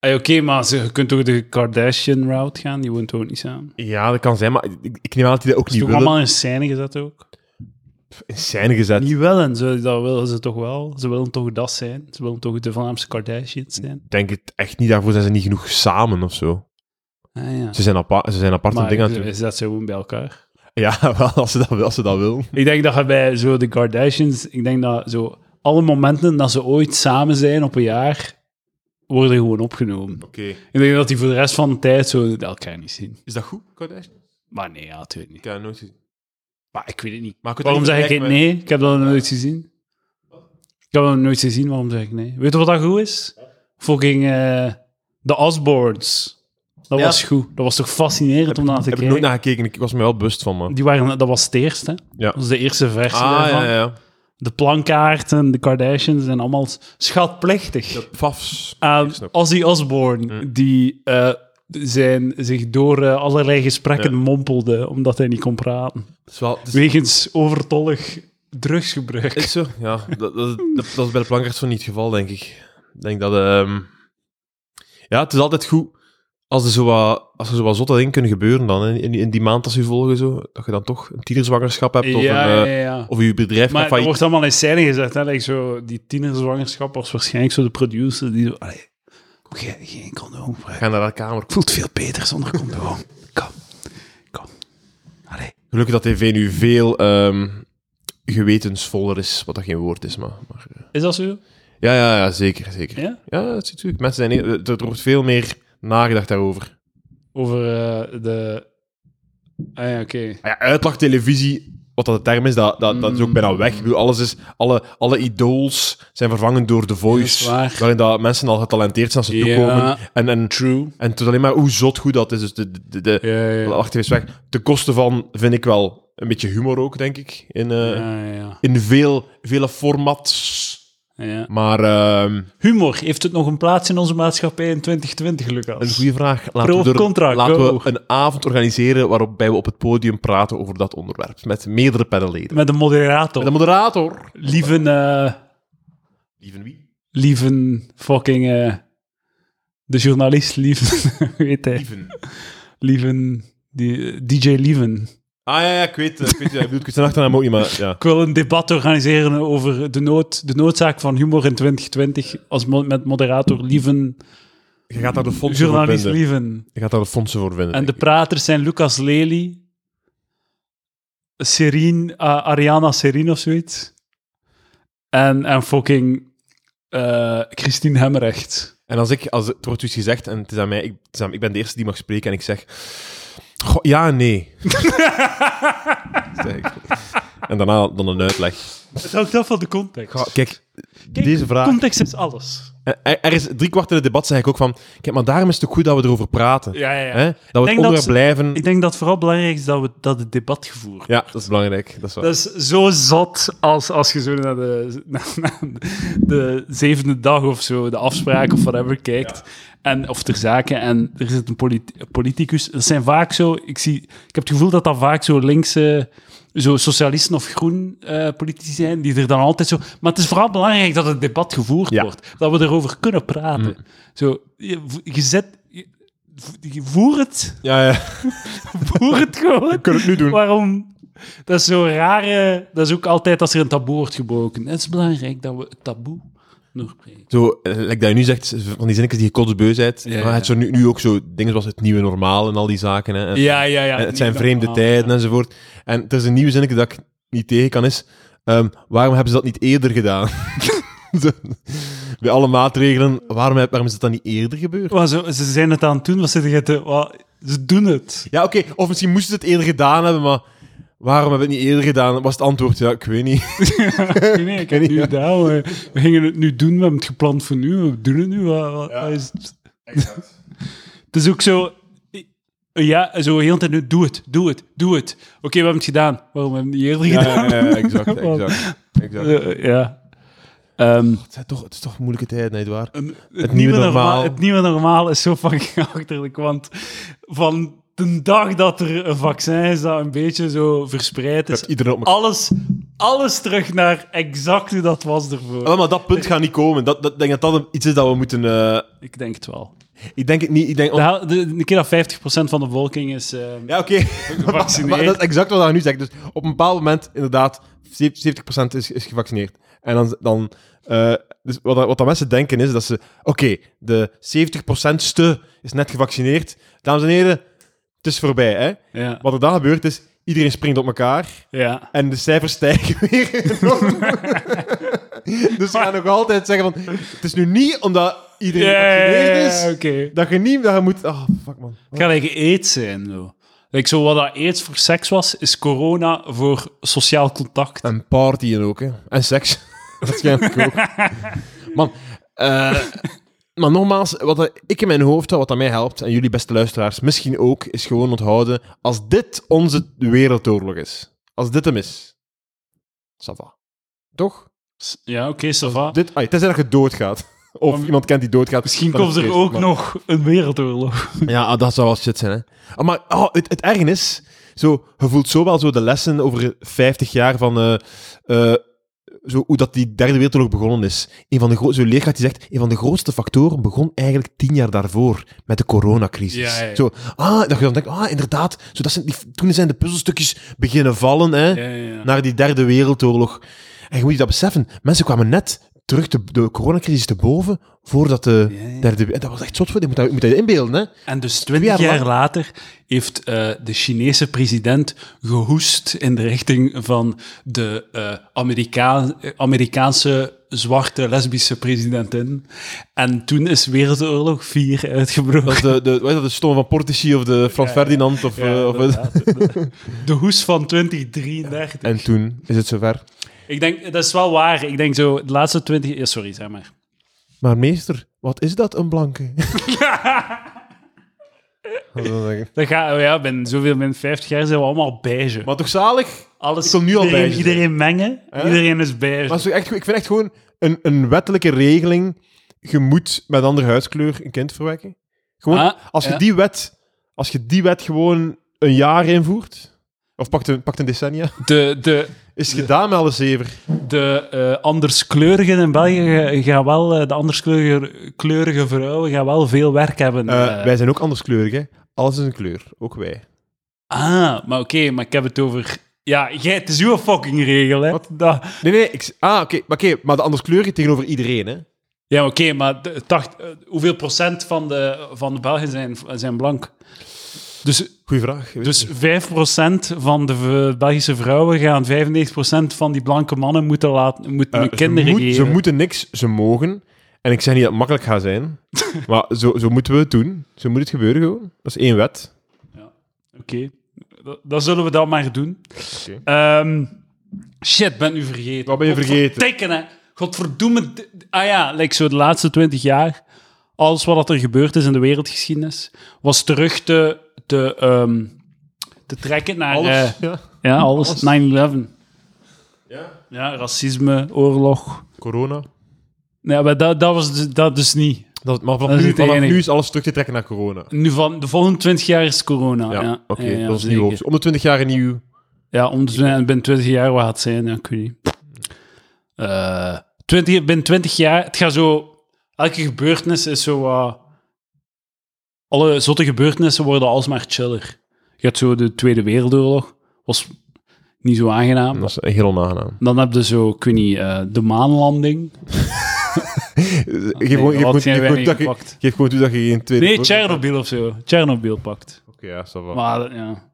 Eh, Oké, maar ze- je kunt toch de Kardashian-route gaan? Die woont ook niet samen.
Ja, dat kan zijn, maar ik, ik neem aan dat die dat ook
Is
niet
toch
willen.
allemaal in scène gezet ook?
In scène gezet.
Niet wel, en ze, dat willen ze toch wel. Ze willen toch dat zijn. Ze willen toch de Vlaamse Kardashians zijn.
Ik denk het echt niet, daarvoor zijn ze niet genoeg samen of zo.
Ah, ja.
Ze zijn, apa- ze zijn aparte
Maar eh,
dingen
is,
natuurlijk.
is dat zo gewoon bij elkaar?
Ja, wel, als ze dat, wil- als ze dat wil.
Ik denk dat je bij zo de Kardashians, ik denk dat zo alle momenten dat ze ooit samen zijn op een jaar, worden gewoon opgenomen.
Oké.
Ik denk dat die voor de rest van de tijd zo elkaar niet zien.
Is dat goed, Kardashian?
Maar nee, ja, natuurlijk niet.
heb dat nooit gezien.
Maar ik weet het niet.
Maar ik weet
Waarom
dat
zeg ik
vergelijk
het nee? Ik heb dat nog nooit gezien. Ik heb dat nog nooit gezien, waarom zeg ik nee? Weet je wat dat goed is? Fucking eh, de Osborns. Dat
Ja.
was goed. Dat was toch fascinerend om naar
met-
te
Heb ik nooit
kijken?
naar gekeken, ik was me wel bewust van, man.
Die waren, dat was het eerst, hè?
Ja.
Dat was de eerste versie
Ah,
daarvan.
ja, ja.
De plankaarten, de Kardashians zijn allemaal schatplichtig.
De pafs.
Aan
ik snap.
Ozzy Osbourne, die eh, zijn, zich door eh, allerlei gesprekken
Ja.
mompelde omdat hij niet kon praten.
Dat is wel... dat is-
Dus Wegens overtollig drugsgebruik.
is zo. Ja, dat, dat, dat, dat is bij de plankaarts zo niet het geval, denk ik. Ik denk dat... ehm, Ja, het is altijd goed als er zo wat, als er zo wat zotte dingen kunnen gebeuren dan. hè. In, die- in die maand als u volgen, zo, dat je dan toch een tienerzwangerschap hebt. Of, een,
ja,
eh,
ja, ja.
of je bedrijf gaat
Maar dat
failliet.
wordt allemaal in scène gezet. Hè? Like zo, die tienerzwangerschap was waarschijnlijk zo de producer die zo... Allee, moet jij geen condoom gebruiken?
Ga naar dat kamer.
Ik voel het veel beter zonder condoom. Kom. Kom. Allee.
Gelukkig dat tv nu veel ehm, gewetensvoller is, wat dat geen woord is, maar... maar eh.
Is dat zo?
ja, ja, ja, zeker, zeker.
Ja?
Ja, dat is natuurlijk. Mensen zijn... heel- Er wordt veel meer nagedacht daarover.
Over eh, de... Ah ja, oké.
Maar ja, uitlachtelevisie, wat dat de term is, dat, dat, dat is
Mm.
ook bijna weg. Ik bedoel, alles is... Alle, alle idols zijn vervangen door The Voice.
Dat is waar.
Waarin dat mensen al getalenteerd zijn als ze
Ja.
toekomen. En, en,
True.
en het is alleen maar hoe zot goed dat is. Dus de... de, de, de
Ja, ja, ja.
lacht is weg. Ten koste van, vind ik wel, een beetje humor ook, denk ik. In, eh,
Ja, ja,
in veel, vele formats.
ja, ja.
Maar ehm,
Humor, heeft het nog een plaats in onze maatschappij in 2020, Lucas?
een goede vraag. Laten,
Pro
we,
of contra,
laten
go.
we een avond organiseren waarbij we op het podium praten over dat onderwerp. Met meerdere panelleden.
Met een moderator.
Met de moderator.
Lieve... eh,
Lieven wie?
lieven fucking eh, de journalist lieven hoe heet hij
Lieven.
lieven die, eh, DJ lieven
Ah ja, ja, ik weet eh, ik weet, ja, ik bedoel, ik weet zijn achternaam ook niet, maar ja.
ik wil een debat organiseren over de, nood, de noodzaak van humor in 2020 als mo- met moderator lieven
Je gaat daar de fondsen voor
journalist
vinden.
lieven
Je gaat daar de fondsen voor vinden.
en de
denk
praters zijn Lucas Lely Serien eh, Ariana Serien of zoiets en, en fucking eh, Christine Hemrecht
ik. En als ik, als het wordt dus gezegd, en het is aan mij, ik, het is aan- ik ben de eerste die mag spreken en ik zeg... Goh, ja en nee. Zeg. en daarna dan een uitleg.
Het hangt af van de context.
Goh, kijk,
Kijk,
deze vraag...
Context is alles.
Eh, Er, er is drie kwart in het debat zeg ik ook van... Kijk, maar daarom is het ook goed dat we erover praten.
Ja, ja, ja.
Hè? Dat we het
denk dat
onderwerp
ze-
blijven...
Ik denk dat het vooral belangrijk is dat, we, dat het debat gevoerd
Ja, dat is belangrijk. Dat is waar.
Dat is zo zot als, als je zo naar de, naar- naar de zevende dag of zo, de afspraak of whatever, kijkt. En, of ter zake. En er zit een polit- politicus. Dat zijn vaak zo... Ik, zie, ik heb het gevoel dat dat vaak zo linkse... Zo socialisten of groen eh, politici zijn, die er dan altijd zo... Maar het is vooral belangrijk dat het debat gevoerd
Ja.
wordt. Dat we erover kunnen praten. Zo, je, je zet... Je, je voer het.
Ja, ja.
Voer het gewoon.
Kunnen we het nu doen.
Waarom? Dat is zo rare. Dat is ook altijd als er een taboe wordt gebroken. Het is belangrijk dat we het taboe doorbreken.
Zo, eh, like dat je nu zegt, van die zinnetjes die je kotsbeu bent.
Ja,
maar het
ja.
zo nu, nu ook zo dingen zoals het nieuwe normaal en al die zaken. Hè. En-
ja, ja.
en het zijn vreemde tijden enzovoort. En er is een nieuw zinnetje dat ik niet tegen kan, is... ehm, waarom hebben ze dat niet eerder gedaan? Zo, Bij alle maatregelen, waarom, heb- waarom is dat dan niet eerder gebeurd?
Maar zo, ze zijn het aan het doen. Wat zitten je te. wat- ze doen het.
Ja, oké, of misschien moesten ze het eerder gedaan hebben, maar... Waarom hebben we het niet eerder gedaan? Was het antwoord, ja, ik weet niet.
Nee, nee, ik heb het nu gedaan. We, we gingen het nu doen. We hebben het gepland voor nu. We doen het nu. Wat, wat- wat is het? Het is ook zo. Ja, zo heel de tijd nu. Doe het, doe het, doe het. Oké, we hebben het gedaan. Waarom hebben we het niet eerder
Ja,
gedaan?
ja, ja, exact, exact. exact.
Eh, ja. Ehm,
Het, zijn toch, het is toch moeilijke tijden, nietwaar?
Een- het,
nieuwe
nieuwe normaal.
normaal.
het nieuwe normaal is zo fucking achterlijk, want van de dag dat er een vaccin is dat een beetje zo verspreid is,
Dat iedereen op elkaar...
alles, alles terug naar exact hoe dat was ervoor.
Ah, maar dat punt gaat niet komen. Dat, dat, ik denk dat dat een- iets is dat we moeten... eh,
Ik denk het wel.
ik denk het niet... Ik denk,
De, hel- de- de keer dat 50% van de bevolking is... eh,
Ja, oké.
Gevaccineerd.
Maar dat is exact wat hij nu zegt. Dus op een bepaald moment, inderdaad, 70% is, is gevaccineerd. En dan... dan eh, dus wat, wat dat mensen denken is dat ze... Oké, de 70%ste is net gevaccineerd. Dames en heren, het is voorbij, hè.
ja.
Wat er dan gebeurt is, iedereen springt op elkaar.
ja.
En de cijfers stijgen weer. enorm. dus we gaan nog altijd zeggen van... Het is nu niet omdat iedereen
Ja, ja,
gevaccineerd is...
ja, oké.
Dat je niet... Dat je moet... Ah, fuck, man.
Het gaat eigenlijk aids zijn, zo. Like, zo wat dat aids voor seks was, is corona voor sociaal contact.
En partyen ook, hè. En seks. Waarschijnlijk ook. Man, eh, maar nogmaals, wat dat ik in mijn hoofd had, wat dat mij helpt, en jullie beste luisteraars misschien ook, is gewoon onthouden, als dit onze wereldoorlog is, als dit hem is, ça va. Toch?
Ja, oké, ça va.
Dit, ai, tenzij dat je doodgaat. Of
Maar-
iemand kent die doodgaat.
Misschien
dan is
komt er
het
ook
vreselijk,
nog een wereldoorlog.
maar- Ja, ah, dat zou wel shit zijn, hè. Ah, maar ah, het, het erg is, zo, je voelt zo wel zo de lessen over 50 jaar van eh, eh, zo, hoe dat die derde wereldoorlog begonnen is. Een van de gro- zo'n leerkracht die zegt, een van de grootste factoren begon eigenlijk tien jaar daarvoor met de coronacrisis.
Ja, ja, ja.
Zo, ah, dat je dan denkt, ah, inderdaad, zo, dat zijn die, toen zijn de puzzelstukjes beginnen vallen hè,
Ja, ja, ja.
naar die derde wereldoorlog. En je moet je dat beseffen, mensen kwamen net terug de, de coronacrisis te boven voordat de
Ja, ja.
derde... en Dat was echt zot voor, je moet dat, je moet dat inbeelden, hè.
En dus twintig
jaar
jaar
lang-
later heeft eh, de Chinese president gehoest in de richting van de eh, Amerika- eh, Amerikaanse zwarte lesbische presidentin. En toen is Wereldoorlog 4 uitgebroken.
Dat de, de, wat is dat, de storm van Portici of de Frans Ferdinand of... eh,
Ja,
of
inderdaad. de, de hoest van 2033.
en toen is het zover.
Ik denk, dat is wel waar. Ik denk zo, de laatste 20... ja, Sorry, zeg maar.
Maar meester, wat is dat, een blanke? Wat wil dat zeggen?
Dat gaat, oh ja, binnen zoveel, binnen 50 jaar zijn we allemaal beige.
maar toch zalig?
Alles,
Ik wil nu al
iedereen,
beige zijn.
Iedereen mengen, iedereen is beige.
Maar het is toch echt, goed- ik vind echt gewoon een, een wettelijke regeling. Je moet met andere huidskleur een kind verwekken. Gewoon,
Ah,
als, je
ja.
die wet, als je die wet gewoon een jaar invoert, of pakt een, pakt een decennia,
De, de,
is het gedaan met alle zever.
de eh, anderskleurigen in België gaan wel, eh, de anderskleurige kleurige vrouwen gaan wel veel werk hebben.
Eh,
eh.
wij zijn ook anderskleurig, hè. Alles is een kleur, ook wij.
Ah, maar oké, maar ik heb het over. Ja, jij, het is uw fucking regel, hè? Dat-
Nee, nee, ik, ah, oké, maar, oké, maar de anderskleurige tegenover iedereen, hè.
ja, oké, maar de- tacht, eh, hoeveel procent van de, van de Belgen zijn, zijn blank? Dus,
Goeie vraag.
dus 5% van de v- Belgische vrouwen gaan 95% van die blanke mannen moeten, laten, moeten
Eh,
kinderen
ze, moet-
geven.
ze moeten niks, ze mogen. En ik zeg niet dat het makkelijk gaat zijn, maar zo, zo moeten we het doen. Zo moet het gebeuren gewoon. Dat is één wet.
Ja. Oké, Oké, dat, dat zullen we dan maar doen. Ehm, shit, ben u vergeten.
Wat ben je vergeten?
Godverdikke, hè. Godverdomme. d- d- Ah ja, like zo de laatste twintig jaar. Alles wat er gebeurd is in de wereldgeschiedenis, was terug te, te, ehm, te trekken naar... eh,
ja.
ja, alles. 9-11.
ja.
Ja, racisme, oorlog.
Corona.
Ja, maar dat, dat was dus- dat dus niet.
Dat, maar vanaf,
Dat is
nu,
het
vanaf
enige.
nu is alles terug te trekken naar corona.
Nu van, de volgende 20 jaar is corona. Ja,
Ja, oké.
Ja, ja,
dat is
zeker.
nieuw. optie. Om de 20 jaar een nieuw.
Ja, om de, en binnen 20 jaar wat het zijn, ja, ik weet niet. Eh, 20, binnen 20 jaar, het gaat zo. Elke gebeurtenis is zo. wat- alle zotte gebeurtenissen worden alsmaar chiller. Je hebt zo de Tweede Wereldoorlog, was niet zo aangenaam.
Dat is heel onaangenaam.
Dan heb je zo, ik weet niet, eh, de maanlanding.
Geef gewoon-
dat
geef gewoon-
zijn
geef
wij
gewoon
niet
dat je-
gepakt.
geef gewoon toe dat je geen tweede...
Nee, Tsjernobyl of zo. Tsjernobyl pakt.
Oké, ja, ça va.
Maar dat- ja.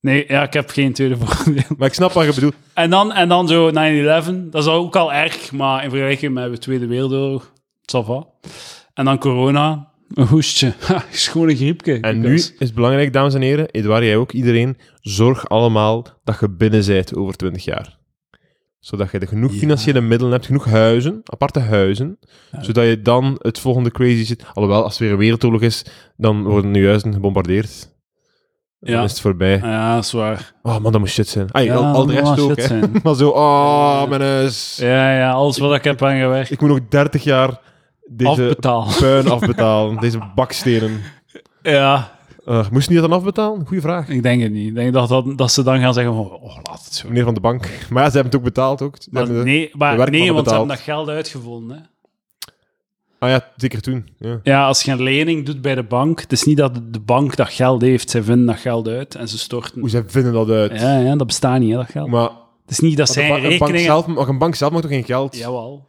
Nee, ja, ik heb geen tweede voordeel.
Maar ik snap wat je bedoelt.
En dan, en dan zo 9-11. Dat is ook al erg, maar in vergelijking met de Tweede Wereldoorlog, ça va. En dan corona, een hoestje. Ha, is gewoon een griepje.
En nu
Lucas.
is het belangrijk, dames en heren, Edouard, jij ook, iedereen, zorg allemaal dat je binnen zijt over 20 jaar. Zodat je de genoeg
Ja.
financiële middelen hebt, genoeg huizen, aparte huizen, zodat je dan het volgende crazy zit. Alhoewel, als er weer een wereldoorlog is, dan worden nu huizen gebombardeerd. Ja.
Ja.
Dan is het voorbij.
Ja, dat is waar.
Oh man, dat moet shit zijn. Ai,
Ja,
al, al de
dat
rest
moet
ook,
shit
hè.
zijn.
Maar zo, oh, mijn huis.
Ja, ja, alles wat ik heb aangewerkt.
Ik moet nog 30 jaar deze
Afbetaal.
puin afbetalen, deze bakstenen.
Ja,
Eh, moest je niet dat dan afbetalen? Goeie vraag.
ik denk het niet. Ik denk dat, dat, dat ze dan gaan zeggen van, oh, laat het zo.
Meneer van de bank. Maar ja, ze hebben het ook betaald ook. Ze
Maar
hebben de-
nee, maar,
werkmannen
nee, want ze hebben
betaald.
dat geld uitgevonden. Hè.
Ah ja, zeker toen. Ja.
Ja, als je een lening doet bij de bank, het is niet dat de bank dat geld heeft. Zij vinden dat geld uit en ze storten.
Hoe zij vinden dat uit.
Ja, ja, dat bestaat niet, hè, dat geld.
Maar
Het is niet dat
een,
zij
ba-
een
een bank
rekening...
zelf, maar een bank zelf maakt toch geen geld?
Jawel.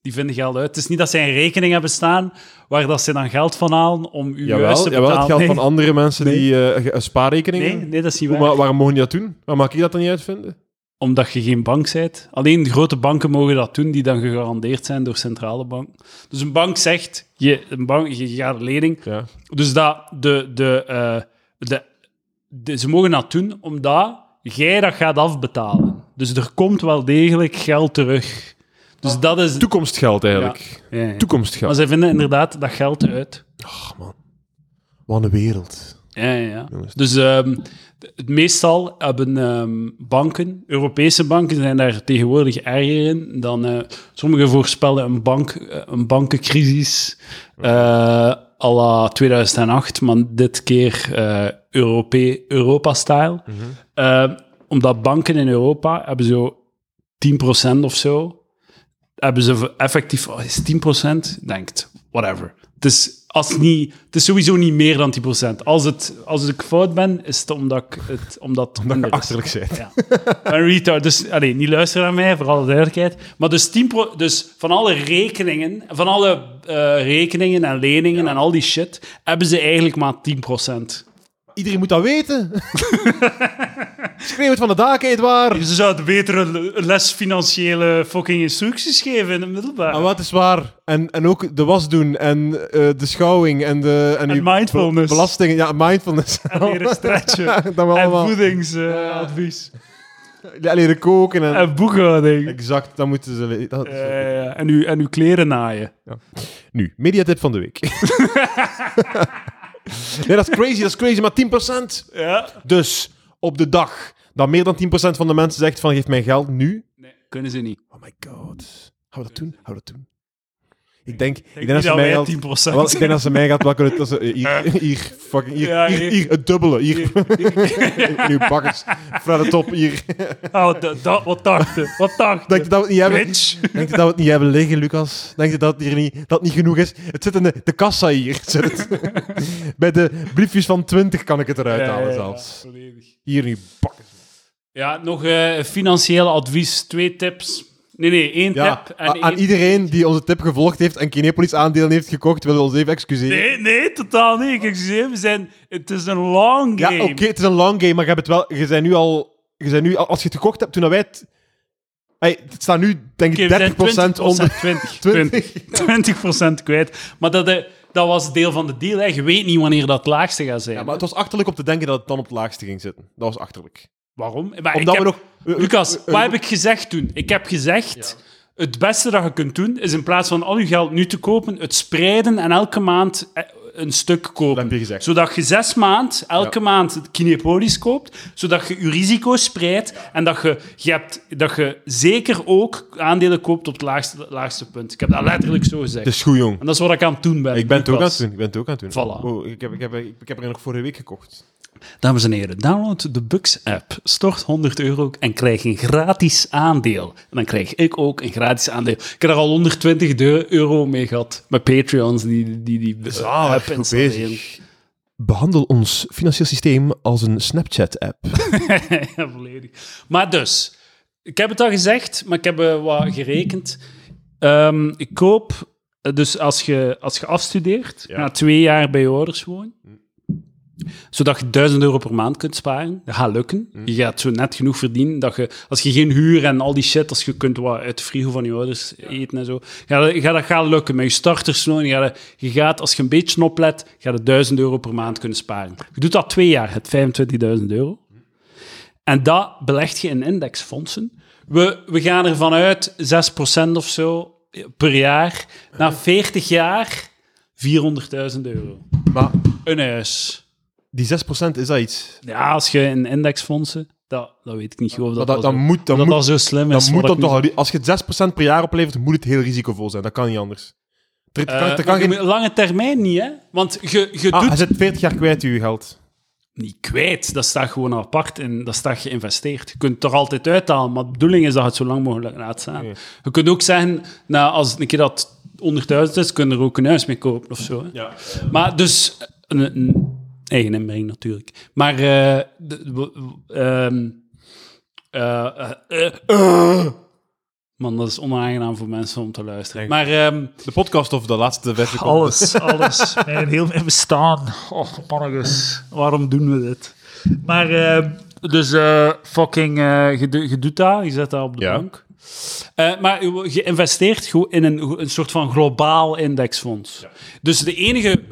Die vinden geld uit. Het is niet dat zij een rekening hebben staan waar dat ze dan geld van halen om uw huis te betalen.
jawel, jawel, het geld
nee.
van andere mensen die eh, ge- een spaarrekening
nee,
hebben.
nee, dat is niet
Hoe,
waar.
maar waarom mogen die dat doen? Waarom mag ik dat dan niet uitvinden?
Omdat je geen bank bent. Alleen grote banken mogen dat doen, die dan gegarandeerd zijn door centrale banken. Dus een bank zegt, je, een bank, je gaat een lening.
Ja.
Dus dat de, de, eh, de, de- ze mogen dat doen omdat jij dat gaat afbetalen. Dus er komt wel degelijk geld terug.
Ah.
Dus dat is...
Toekomstgeld eigenlijk.
Ja, ja.
Toekomstgeld.
Maar zij vinden inderdaad dat geld uit.
Ach man, wat een wereld.
Ja, ja, ja.
Jongens.
Dus ehm, d- het meestal hebben ehm, banken, Europese banken, zijn daar tegenwoordig erger in dan. eh, sommigen voorspellen een, bank, eh, een bankencrisis eh à la 2008, maar dit keer eh, Europe- Europa-style. Eh, omdat banken in Europa hebben zo 10% of zo. Hebben ze effectief, oh, is het 10%? Denkt, whatever. Het is, als het niet, het is sowieso niet meer dan 10%. Als, het, als ik fout ben, is het omdat ik het omdat het
Dat je
minder is.
achterlijk bent.
Ja. Een retard. Dus allee, niet luisteren naar mij, voor alle duidelijkheid. Maar dus, 10 dus van alle rekeningen, van alle eh, rekeningen en leningen en al die shit, hebben ze eigenlijk maar 10%.
Iedereen moet dat weten. Schreeuw het van de daken, Edouard.
Ze zouden betere les financiële fucking instructies geven in het middelbaar.
En wat is waar? En, en ook de was doen en eh, de schouwing en de... En, die
mindfulness.
be- belastingen, ja, mindfulness.
Dus- En leren stretchen.
Dat we allemaal...
voedingsadvies.
Ja, leren koken en...
En Eh. boekhouding.
Exact, dat moeten ze... le- dat-
en, uw, en uw kleren naaien.
Nu, mediatip van de week. nee, dat is crazy, dat is crazy, maar 10%.
Ja.
Dus, op de dag dat meer dan 10% van de mensen zegt van geef mij geld nu...
Nee, kunnen ze niet.
Oh my god. Gaan we dat doen? Gaan we dat doen? Ik denk, ik denk,
niet
dat ze
dat
mij
wij
geld...
10%
Wel, ik denk dat ze mij gaat pakken. Dat ze, hier, hier, fucking, hier,
Ja,
hier,
hier.
hier, het dubbele. Hier, nu bakkers. Vanuit de top, hier.
Ah, wat, dat- wat dachten? Wat dachten?
Denk je dat we het niet hebben?
Bitch.
Denk je dat we het niet hebben liggen, Lucas? Denk je dat het hier niet, dat het niet genoeg is? Het zit in de, de kassa hier. Het zit het. Bij de briefjes van 20 kan ik het eruit halen zelfs. Hier nu bakken.
Ja, nog eh financieel advies. Twee tips. Nee, nee, één
Ja,
tip.
a-
En
aan
één-
iedereen die onze tip gevolgd heeft en Kinepolis aandelen heeft gekocht, willen we ons even excuseren.
Nee, nee, totaal niet. Kijk, we zijn... Het is een long game.
Ja, oké, het is een long game, maar je hebt het wel. Je zijn nu al. Je zijn nu, al- als je het gekocht hebt, toen dat wij het. Hey, het staat nu, denk
Oké,
ik,
we zijn
30% onder.
20%, 20, 20, 20% kwijt. Maar dat, eh, dat was deel van de deal. Hè. Je weet niet wanneer dat het laagste gaat zijn.
Ja, maar het was achterlijk om te denken dat het dan op het laagste ging zitten. Dat was achterlijk.
Waarom? Maar ik
Omdat
heb-
we nog... we- we-
Lucas,
we-
wat heb ik gezegd toen? Ik heb gezegd, het beste dat je kunt doen, is in plaats van al je geld nu te kopen, het spreiden en elke maand eh, een stuk kopen.
heb je gezegd.
Zodat je zes maand, elke
Ja.
maand het Kinepolis koopt, zodat je je risico spreidt en dat je, je hebt, dat je zeker ook aandelen koopt op het laagste, laagste punt. Ik heb dat letterlijk zo gezegd.
Het is goed, jong.
En dat is wat ik aan het doen ben.
Ik ben het ook aan
Lucas.
het doen. Ik ben het ook aan het doen.
Voilà.
Oh, ik, heb, ik, heb, ik heb er nog vorige week gekocht.
Dames en heren, download de Bucks-app. Stort 100 euro en krijg een gratis aandeel. En dan krijg ik ook een gratis aandeel. Ik heb daar al 120 de- euro mee gehad. Met Patreons die die, die eh, app
Ah, goed
installeren.
bezig. Behandel ons financieel systeem als een Snapchat-app.
ja, volledig. Maar dus, ik heb het al gezegd, maar ik heb eh, wat gerekend. Ehm, ik koop, eh, dus als je, als je afstudeert,
Ja.
na twee jaar bij je ouders wonen, zodat je 1000 euro per maand kunt sparen. Dat gaat lukken. Je gaat zo net genoeg verdienen dat je, als je geen huur en al die shit, als je kunt wat uit de frigo van je ouders eten en zo, gaat, gaat dat gaan lukken. Met je startersloon, je gaat, je gaat, als je een beetje oplet, ga je 1000 euro per maand kunnen sparen. Je doet dat twee jaar, het 25.000 euro. En dat belegt je in indexfondsen. We, we gaan ervan uit 6% of zo per jaar. Na 40 jaar 400.000 euro.
Maar
Een huis.
die 6% is dat iets.
Ja, als je in indexfondsen. Dat, dat weet ik niet of dat,
Maar dat,
al
dat
zo,
moet, dat
dat
moet,
al zo slim is.
dat moet
wat ik
dan toch,
niet-
al- als je het 6% per jaar oplevert, moet het heel risicovol zijn. Dat kan niet anders. Er, er kan, er
Eh,
kan
maar je
geen-
moet- Lange termijn niet, hè? Want je, je
Ah,
doet
hij zit 40 jaar kwijt, uw geld.
niet kwijt. Dat staat gewoon apart en dat staat geïnvesteerd. Je kunt het er altijd uithalen, maar de bedoeling is dat je het zo lang mogelijk laat staan.
Oké.
Je kunt ook zeggen, nou, als het een keer dat 100.000 is, kun je er ook een huis mee kopen of zo. hè.
Ja.
Maar dus, een, een eigen inbreng natuurlijk. Maar, eh, de- w- w- ehm, eh, eh, eh, eh. man, dat is onaangenaam voor mensen om te luisteren.
Denk-
Maar ehm,
De podcast of de laatste vijf seconden.
Alles, alles. Mijn heel mijn bestaan. Oh, mannetjes.
waarom doen we dit?
Maar, eh,
Dus eh, fucking, eh, je, do- je doet dat, je zet dat op de
Ja.
bank. Eh, maar je je investeert gewoon in een, een soort van globaal indexfonds. Dus de enige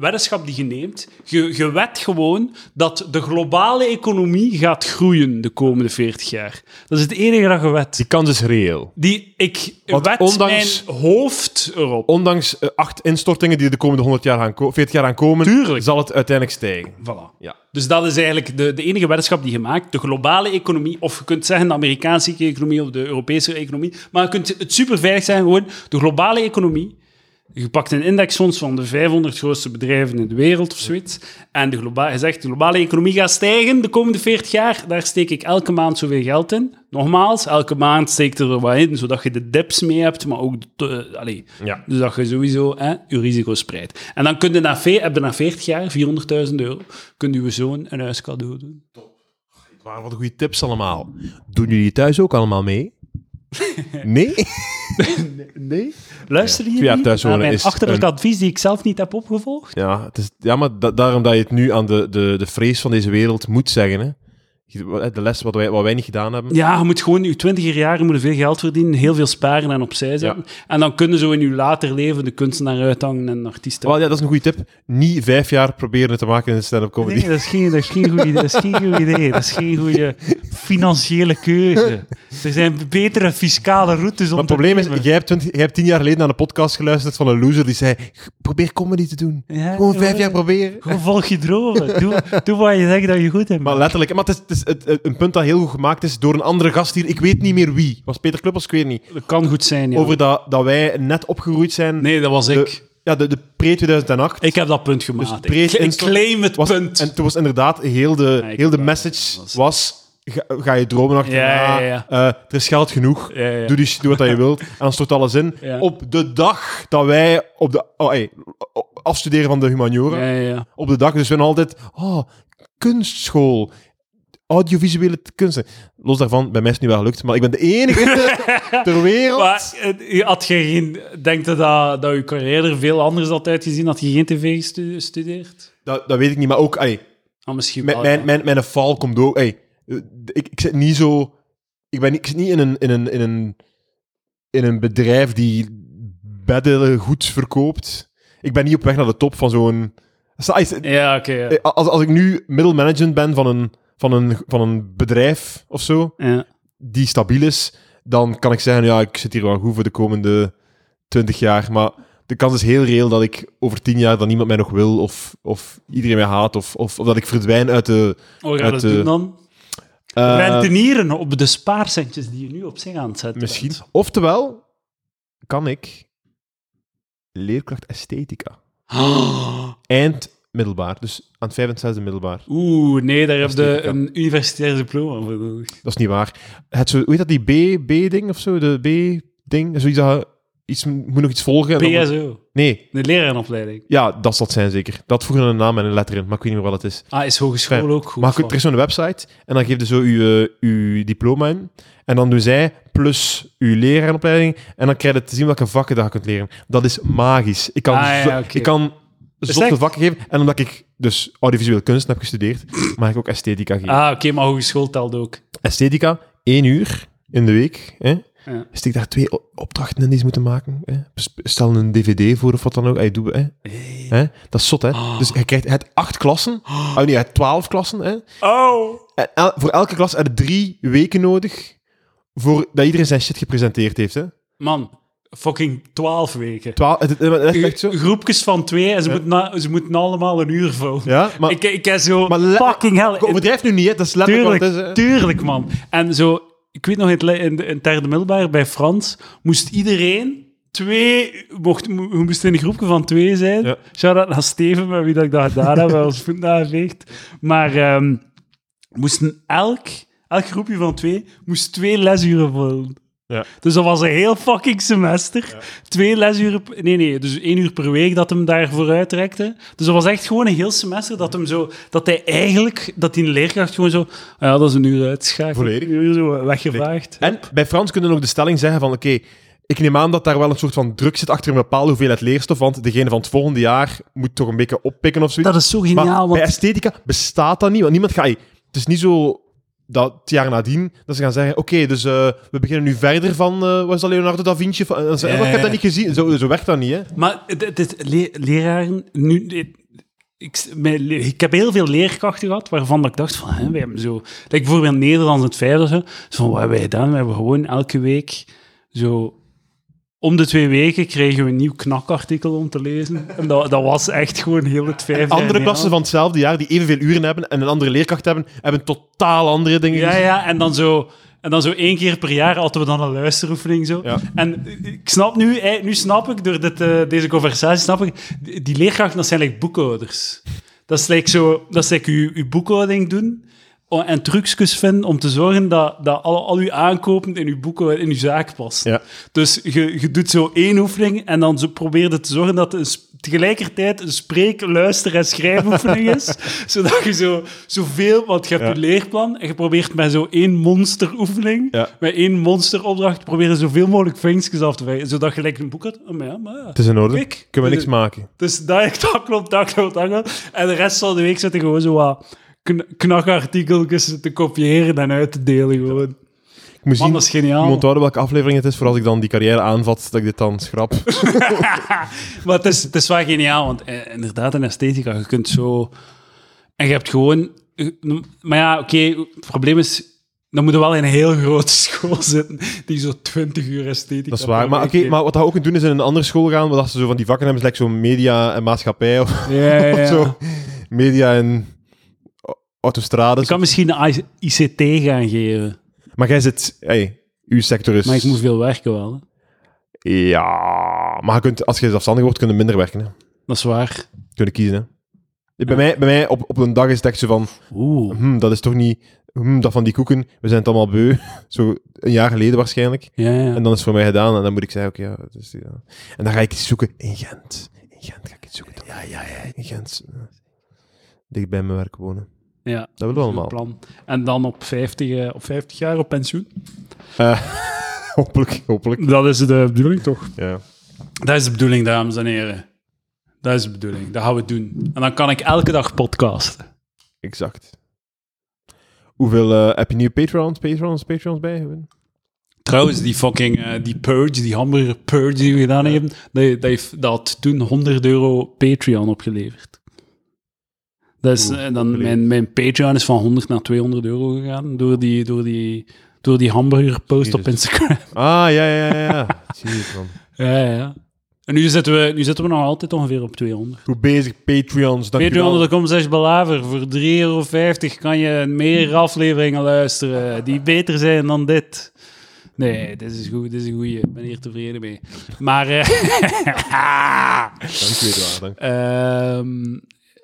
weddenschap die je neemt, je, je wet gewoon dat de globale economie gaat groeien de komende 40 jaar. Dat is het enige dat je wet.
Die kans is reëel.
Die, ik
Want
wet
ondanks-
mijn hoofd erop.
Ondanks eh, acht instortingen die de komende 100 jaar gaan ko- 40 jaar gaan komen,
Tuurlijk.
zal het uiteindelijk stijgen.
Voilà.
Ja.
Dus dat is eigenlijk de, de enige weddenschap die je maakt. De globale economie, of je kunt zeggen de Amerikaanse economie of de Europese economie. Maar je kunt het superveilig zijn, gewoon de globale economie. Je pakt een indexfonds van de 500 grootste bedrijven in de wereld of zoiets. En de globa- je zegt, de globale economie gaat stijgen de komende 40 jaar. Daar steek ik elke maand zoveel geld in. Nogmaals, elke maand steekt er wat in, zodat je de dips mee hebt, maar ook... De, eh, allee,
Ja.
dus dat je sowieso hè, je risico spreidt. En dan kun je na, ve- heb je na 40 jaar 400.000 euro, kun je je zoon een huis cadeau doen.
Maar wat goede tips allemaal. Doen jullie thuis ook allemaal mee? Nee?
Nee? Luister hier
Twee jaar
niet
thuis
naar
wonen
mijn
is
achterlijk
een-
advies die ik zelf niet heb opgevolgd.
Ja, het is, ja maar da- daarom dat je het nu aan de, de, de vrees van deze wereld moet zeggen. Hè? Je- De les wat wij, wat wij niet gedaan hebben.
Ja, je moet gewoon je twintiger jaren moeten veel geld verdienen, heel veel sparen en opzij zetten. En dan kunnen zo in je later leven de kunstenaar uithangen en artiesten.
Wel, ja, dat is een goede tip. Niet vijf jaar proberen het te maken in een stand-up comedy.
nee, dat is geen, dat is geen goed idee. Dat is geen goed idee. Dat is geen goede financiële keuze. Er zijn betere fiscale routes om
Maar het probleem is, jij hebt, 20 jij hebt tien jaar geleden naar een podcast geluisterd van een loser die zei, probeer comedy te doen.
Ja,
Gewoon vijf
ja.
jaar proberen.
Gewoon volg je dromen. Doe, doe wat je denkt dat je goed hebt.
Maar letterlijk, maar het is, het is het- het- een punt dat heel goed gemaakt is door een andere gast hier. Ik weet niet meer wie. Was Peter Kluppers? Ik weet niet.
Dat kan goed zijn, ja.
Over dat, dat wij net opgeroeid zijn.
Nee, dat was
de,
ik.
Ja, de, de pre-2008.
Ik heb dat punt gemaakt.
Dus
ik,
breed
ik
instort-
claim het
was,
punt.
En toen was inderdaad heel de,
ik
heel de
wou-
message
was-
was, ga, ga je dromen achterna.
Ja, ja,
eh, er is geld genoeg.
Ja, ja.
Doe, die, sh- doe wat dat je wilt. En dan stort alles in.
Ja.
Op de dag dat wij op de, oh, hey, op- afstuderen van de humaniora.
Ja, ja, ja.
Op de dag, dus we zijn altijd... Oh, kunstschool. Audiovisuele t- kunsten. Los daarvan, bij mij is het nu wel gelukt. Maar ik ben de enige ter wereld...
Maar eh, je had je geen, denk je dat, dat je carrière er veel anders had uitgezien had je geen tv gestu- gestudeerd?
Dat, dat weet ik niet, maar ook... Allee,
Ah, misschien
Mijn,
wel.
mijn,
ja.
mijn, mijn val komt ook. Ey, eh, ik, ik zit niet zo. Ik, ben, niet- ik zit niet in een, in, een, in, een, in een bedrijf die bedden goed verkoopt. ik ben niet op weg naar de top van zo'n... Sta- is-
Ja, oké. ja.
eh, Als, als ik nu middelmanagement ben van een, van, een, van een bedrijf of zo,
ja.
die stabiel is, dan kan ik zeggen, ja, ik zit hier wel goed voor de komende 20 jaar. Maar de kans is heel reëel dat ik over 10 jaar dan niemand mij nog wil, of, of iedereen mij haat, of, of, of dat ik verdwijn uit de...
Oh, ga
Het,
dat
eh,
doen dan?
eh,
Rentenieren op de spaarcentjes die je nu op zich aan het zetten
misschien.
bent.
Oftewel, kan ik leerkracht esthetica.
Ah.
Eind middelbaar, dus aan het 25e middelbaar.
Oeh, nee, daar heb
Dat is
je
niet
een universitair diploma voor nodig.
Dat is niet waar. Het zo, hoe heet dat, die B- B-ding of zo? De B-ding? Zoiets dat je iets, moet nog iets volgen. en dan-
PSO,
Nee,
de lerarenopleiding.
ja, dat zal het zijn zeker. Dat voegen een naam en een letter in, maar ik weet niet meer wat het is.
Ah, is hogeschool ook goed?
maar je kunt-
van?
er is zo'n website en dan geef je zo je, uw diploma in. En dan doen zij plus uw lerarenopleiding. En dan krijg je te zien welke vakken dat je kunt leren. Dat is magisch. Ik kan,
Ah, ja,
zo-
oké.
ik kan zotte
echt-
vakken geven. En omdat ik dus audiovisuele kunst heb gestudeerd, mag ik ook esthetica geven.
Ah, oké, maar hogeschool telt ook.
esthetica, één uur in de week. Hè?
Ja.
Steek daar twee o- opdrachten in die ze moeten maken. Hè? Sp- Stel een dvd voor of wat dan ook. Hey, doe, hè? Hè? Dat is zot, hè?
Ah.
Dus je krijgt het acht klassen. Oh nee, het twaalf klassen. Hè?
Oh!
En el- voor elke klas heb je drie weken nodig voor dat iedereen zijn shit gepresenteerd heeft. Hè?
Man, fucking twaalf weken.
Twaal, het, het, het- het- echt zo.
Groepjes van twee en ze,
Ja.
moeten, na- ze moeten allemaal een uur vol.
Ja, maar
ik, ik heb zo...
Maar le-
fucking hell. Eh,
ik overdrijf nu niet, hè? dat is letterlijk
Tuurlijk,
wat het is, hè.
tuurlijk, man. En zo, ik weet nog, in het, le- in, de- in het derde middelbaar bij Frans moest iedereen twee, mocht, mo- we moesten in een groepje van twee zijn.
Ja.
Shout-out naar Steven, met wie dat ik dat gedaan heb, bij ons voet nageveegd. Maar ehm, moesten elk, elk groepje van twee, moest twee lesuren vullen.
Ja.
Dus dat was een heel fucking semester. Twee lesuren... p- Nee, nee, dus één uur per week dat hem daarvoor uitrekte. Dus dat was echt gewoon een heel semester dat hem zo... Dat hij eigenlijk... Dat die leerkracht gewoon zo... "Ah Ja, dat is een uur uitschakelen.
Volledig.
Een uur zo weggevaagd.
En bij Frans kunnen ook de stelling zeggen van, oké, ik neem aan dat daar wel een soort van druk zit achter een bepaalde hoeveelheid leerstof, want degene van het volgende jaar moet toch een beetje oppikken of zoiets.
Dat is zo
Maar
geniaal, want...
bij esthetica bestaat dat niet, want niemand gaat... Het is niet zo dat het jaar nadien, dat ze gaan zeggen, oké, dus eh, we beginnen nu verder van, eh was dat Leonardo da Vinci? Van, en dan zeggen,
Ja,
"Oh, ik heb
ja,
dat niet gezien. Zo, zo werkt dat niet, hè.
Maar het, het, le- leraren, nu, dit- ik, mijn le- ik heb heel veel leerkrachten gehad waarvan dat ik dacht van, hè, wij hebben zo, like bijvoorbeeld Nederlands in het vijfde, of zo, zo van, wat hebben wij gedaan? We hebben gewoon elke week zo, om de twee weken kregen we een nieuw knakartikel om te lezen. En dat, dat was echt gewoon heel het vijfde.
Andere
en
klassen
ja.
van hetzelfde jaar, die evenveel uren hebben en een andere leerkracht hebben, hebben totaal andere dingen
Ja,
gezien.
ja, en dan zo... En dan zo één keer per jaar hadden we dan een luisteroefening. Zo.
Ja.
En ik snap nu, eh, nu snap ik door dit, eh, deze conversatie, snap ik, die die leerkrachten, dat zijn like boekhouders. Dat is like zo, dat is like uw, uw boekhouding doen o- en trucjes vinden om te zorgen dat, dat al, al uw aankopen in uw, boeken, in uw zaak past.
Ja.
Dus je, je doet zo één oefening en dan zo probeer je te zorgen dat het een s- tegelijkertijd een spreek-, luister- en schrijfoefening is. zodat je zo, zoveel, want je hebt
Ja.
je leerplan en je probeert met zo één monsteroefening,
Ja.
met één monsteropdracht, proberen zoveel mogelijk vinkjes af te wijken. Zodat je gelijk een boek hebt. Oh, maar ja, maar ja.
Het is in orde.
Kijk,
Kunnen we
dus-
niks maken.
Dus dat, dat klopt, dat klopt, dat klopt. En de rest van de week zitten gewoon zo wat kn- knakartikeltjes te kopiëren en uit te delen gewoon.
Ik moet
Man,
zien-
dat is
Ik
geniaal.
moet onthouden welke aflevering het is, voor als ik dan die carrière aanvat, dat ik dit dan schrap.
Maar het is, het is wel geniaal, want eh, inderdaad, in esthetica, je kunt zo... En je hebt gewoon... je- Maar ja, oké, het probleem is... Dan moet je wel in een heel grote school zitten, die zo 20 uur esthetica...
Dat is waar.
per
Maar,
week
oké,
heeft.
maar wat dat ook kunt doen, is in een andere school gaan, waar dat ze zo van die vakken hebben, is like zo'n media en maatschappij of,
Ja, ja, ja.
of zo. Media en au- autostrades.
Ik kan misschien een ICT gaan geven,
Maar jij zit... Hey, uw sector is...
maar ik moet veel werken wel. hè.
Ja, maar je kunt, als je zelfstandig wordt, kun je minder werken. Hè.
Dat is waar.
Kunnen kiezen, hè. Bij mij, bij mij op, op een dag is het echt zo van...
Oeh.
hmm, dat is toch niet... hmm, dat van die koeken, we zijn het allemaal beu. Zo een jaar geleden waarschijnlijk.
Ja, ja.
En dan is het voor mij gedaan. En dan moet ik zeggen, oké, ja, het is, ja. En dan ga ik iets zoeken in Gent. In Gent ga ik iets zoeken. Ja, ja, ja. In Gent. eh, Dicht bij mijn werk wonen.
ja.
Dat willen we
Goed
allemaal.
plan. En dan op 50, eh, op 50 jaar op pensioen.
Hopelijk, hopelijk.
Dat is de bedoeling, toch?
Ja.
Dat is de bedoeling, dames en heren. Dat is de bedoeling. Dat gaan we doen. En dan kan ik elke dag podcasten.
Exact. Hoeveel eh, heb je nieuwe Patreons, Patreons, Patreons bij?
Trouwens, die fucking eh, die purge, die hamburger purge die we gedaan hebben, dat, dat, heeft, dat had toen 100 euro Patreon opgeleverd. Dat is,
Oeh,
eh, dan,
opgeleverd.
mijn, mijn Patreon is van 100 naar 200 euro gegaan door die, door die, door die hamburger post op
Jezus.
Instagram.
Ah, ja, ja, ja. ja. Jezus, man.
ja, ja, ja. En nu zitten, we, nu zitten we nog altijd ongeveer op 200.
Goed bezig, Patreons. Dank u wel.
Patreon.com slash belaver. Voor 3,50 euro kan je meer afleveringen luisteren die beter zijn dan dit. Nee, dit is goed, dit is een goeie. Ik ben hier tevreden mee. Maar... eh,
Dank u, Edouard. Dank.
Ehm,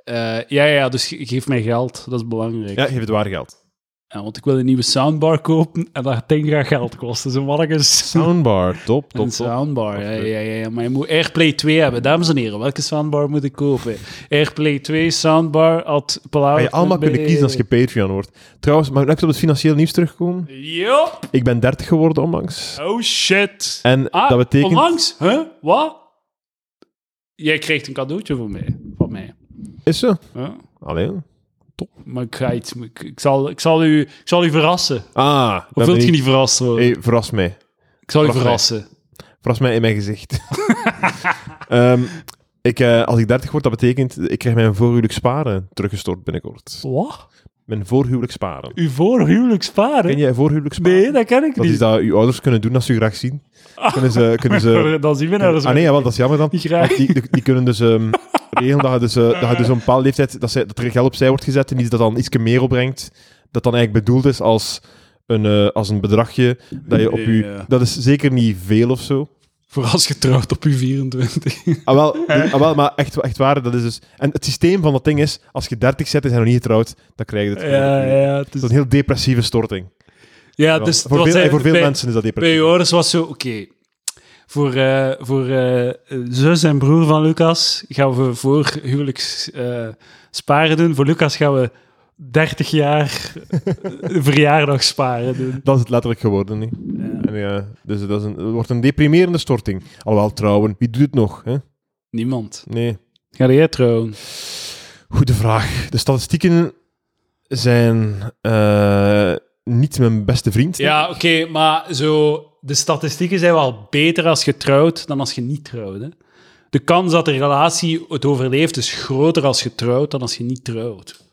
eh, ja, ja, dus ge- geef mij geld. Dat is belangrijk.
Ja, geef het waar geld.
Ja, want ik wil een nieuwe soundbar kopen en dat ding gaat geld kosten. Zo wat ik een sound-
Soundbar, top, top,
Hm. een
top.
soundbar. Ja, ja, ja, ja, maar je moet Airplay 2 hebben. Dames en heren, welke soundbar moet ik kopen? Airplay 2, soundbar, at
Ga je allemaal kunnen kiezen als je Patreon wordt. Trouwens, mag ik nog even op het financieel nieuws terugkomen?
Yup!
Ik ben 30 geworden onlangs.
Oh shit!
En
Ah,
dat betekent...
onlangs? Huh? Wat? Jij krijgt een cadeautje van mij. Van mij.
Is ze?
Huh?
Alleen.
Maar ik ga iets... Ik, ik zal, ik, zal u, ik zal u verrassen.
Ah,
Of
dat
wilt
ben
je
ik-
niet verrast worden?
Hey, verras mij.
Ik zal je
Wacht,
verrassen.
Verras mij in mijn gezicht. Ehm, ik, eh, als ik 30 word, dat betekent... Ik krijg mijn voorhuwelijk sparen teruggestort binnenkort.
Wat?
Mijn voorhuwelijk sparen.
Uw voorhuwelijk sparen?
Ken jij voorhuwelijk sparen?
Nee, dat ken ik
Dat
niet.
is dat uw ouders kunnen doen als ze u graag zien.
Ah.
Kunnen ze... Kunnen ze
Dan zien we naar
eh, ah nee, jawel, dat is jammer dan.
Niet graag.
Want Die, die, die kunnen dus ehm, regelen dat je dus, eh, dat je dus een bepaalde leeftijd... Dat, zij, dat er geld opzij wordt gezet en iets dat dan iets meer opbrengt. Dat dan eigenlijk bedoeld is als een, eh, als een bedragje dat je op
Ja.
je... Dat is zeker niet veel of zo.
Voor als getrouwd op uw 24.
Ah wel, nee, ah, wel, maar echt, echt waar, dat is dus... En het systeem van dat ding is, als je 30 zet en je nog niet getrouwd, dan krijg je dit.
ja, ja. Het is,
Dat is een heel depressieve storting.
ja, dus
voor
wat
veel,
zij-
voor veel
bij-
mensen is dat
Bij
depressief.
Joris was zo, oké. Voor, eh, voor eh, zus en broer van Lucas gaan we voor huwelijks eh, sparen doen. Voor Lucas gaan we 30 jaar eh, verjaardag sparen doen.
Dat is het letterlijk geworden, niet? En ja, dus dat, is een, dat wordt een deprimerende storting. Alhoewel, trouwen, wie doet het nog? Hè?
Niemand.
Nee.
Ga jij trouwen?
Goede vraag. De statistieken zijn eh, niet mijn beste vriend.
Ja, oké, maar zo, de statistieken zijn wel beter als je trouwt dan als je niet trouwt. Hè? De kans dat de relatie het overleeft is groter als je trouwt dan als je niet trouwt.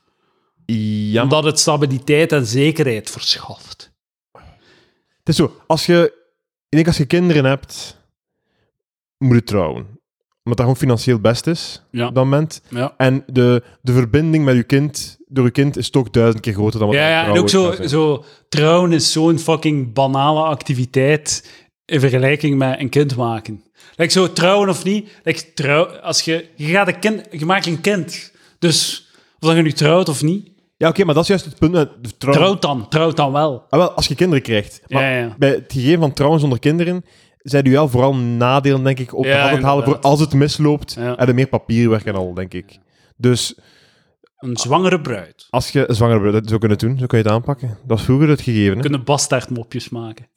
ja maar
Omdat het stabiliteit en zekerheid verschaft.
het is zo. Als je, ik denk als je kinderen hebt, moet je trouwen. Omdat dat gewoon financieel het best is
Ja.
op dat moment.
Ja.
En de, de verbinding met je kind, door je kind, is toch duizend keer groter dan wat
Ja,
een
ja, en
trouwen
ook zo,
zou zijn.
zo, trouwen is zo'n fucking banale activiteit in vergelijking met een kind maken. Like zo, trouwen of niet, like trouw, als je, je, gaat een kind, je maakt een kind. Dus, of dat je nu trouwt of niet,
Ja, oké, maar dat is juist het punt. eh, de Trouw,
trouwt dan, trouwt dan wel.
Ah, wel, als je kinderen krijgt. Maar
Ja, ja.
bij het gegeven van trouwen zonder kinderen zijn u wel vooral nadelen, denk ik, op
Ja,
de hand te halen voor
inderdaad.
als het misloopt
Ja.
en er meer papierwerk en al, denk ik. Dus
Een zwangere bruid.
als je zwanger bent, dat zou kunnen doen, zo kun je het aanpakken. Dat was vroeger het gegeven. Hè?
kunnen bastaardmopjes maken.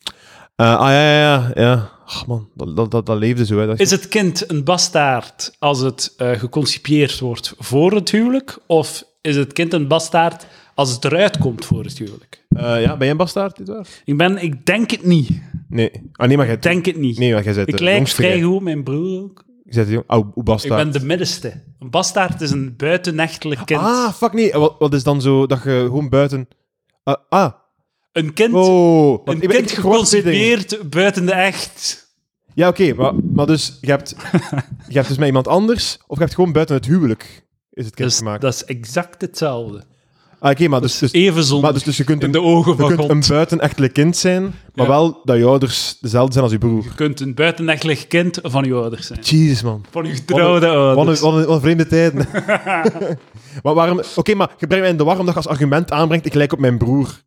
Eh, ah, ja, ja, ja. ja. Ach, man, dat, dat, dat, dat leefde zo. Hè. Dat is-
Is het kind een bastaard als het eh, geconcipieerd wordt voor het huwelijk? Of is het kind een bastaard als het eruit komt voor het huwelijk?
Eh, ja, ben jij een bastaard, dit waar?
Ik, ben, ik denk het niet.
Nee. Ah, nee, maar jij...
Ik denk het niet.
Nee, maar jij bent
ik
de
lijk
eh, jongste,
vrij
jij.
goed, mijn broer ook.
Je bent de jong... Oh, hoe
Ik
bastaard.
ben de middenste. Een bastaard is een buitenechtelijk kind.
Ah, fuck, nee. Wat, wat is dan zo dat je gewoon buiten... Ah, ah.
Een kind,
Oh.
een
ik ben-
kind
ik hoor twee dingen.
geconcipieerd buiten de echt.
Ja, oké, maar, maar dus je hebt, je hebt dus met iemand anders, of je hebt gewoon buiten het huwelijk is het kind
Dus
gemaakt.
dat is exact hetzelfde.
Ah, oké, maar, dus, dus,
Even zonde.
maar dus, dus je kunt,
in
een,
de ogen
je
van
kunt
God.
een buitenechtelijk kind zijn,
Ja.
maar wel dat je ouders dezelfde zijn als je broer.
Je kunt een buitenechtelijk kind van je ouders zijn.
Jezus, man.
Van uw trouwde
Wat een,
ouders.
wat een, wat een vreemde tijden. maar waarom... Oké, maar je brengt mij in de war omdat je als argument aanbrengt, ik lijk op mijn broer.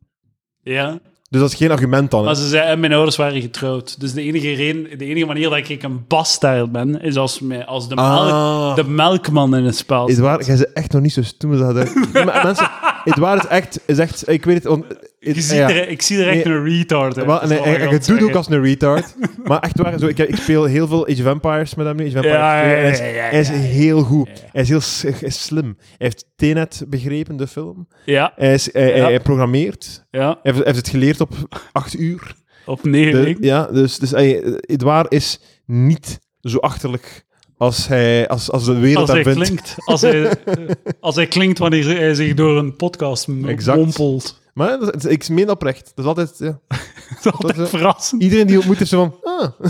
Ja.
Dus dat is geen argument dan. hè?
Maar ze zei, en mijn ouders waren getrouwd. Dus de enige, reden, de enige manier dat ik een bastaard ben, is als, mij, als de, melk-
Ah.
de melkman in het spel. zit.
Edouard, jij bent echt nog niet zo stoem als dat. hè. Nee, maar mensen, Edouard is echt, is echt... Ik weet het... want-
Je ziet
ja.
er, ik zie er echt
Nee.
een retard uit.
Wel,
Dat is
nee,
wat
en-
ik
en
al
je doet
zeg.
ook als een retard. maar echt waar, zo, ik, ik speel heel veel Age of Empires met hem nu. Age of Empires
Ja,
2, en hij, is,
ja, ja, ja,
hij is
ja, ja.
heel goed. Hij is heel s- hij is slim. Hij heeft Tenet begrepen, de film.
Ja,
Hij, is, hij, hij-
Ja.
hij programmeert.
ja.
Hij heeft, hij heeft het geleerd op acht uur.
Op negen
De-
weken.
ja, dus, dus ey, eh, Edouard is niet zo achterlijk als, hij, als, als de wereld
Als
daar
hij
vindt.
klinkt. Als hij, eh, als hij klinkt wanneer hij zich door een podcast m-
Exact.
mompelt.
Maar dat, is- ik meen oprecht. Dat is altijd, ja.
Dat is altijd
Dat is-
verrassend.
Iedereen die ontmoet is zo van... Ah.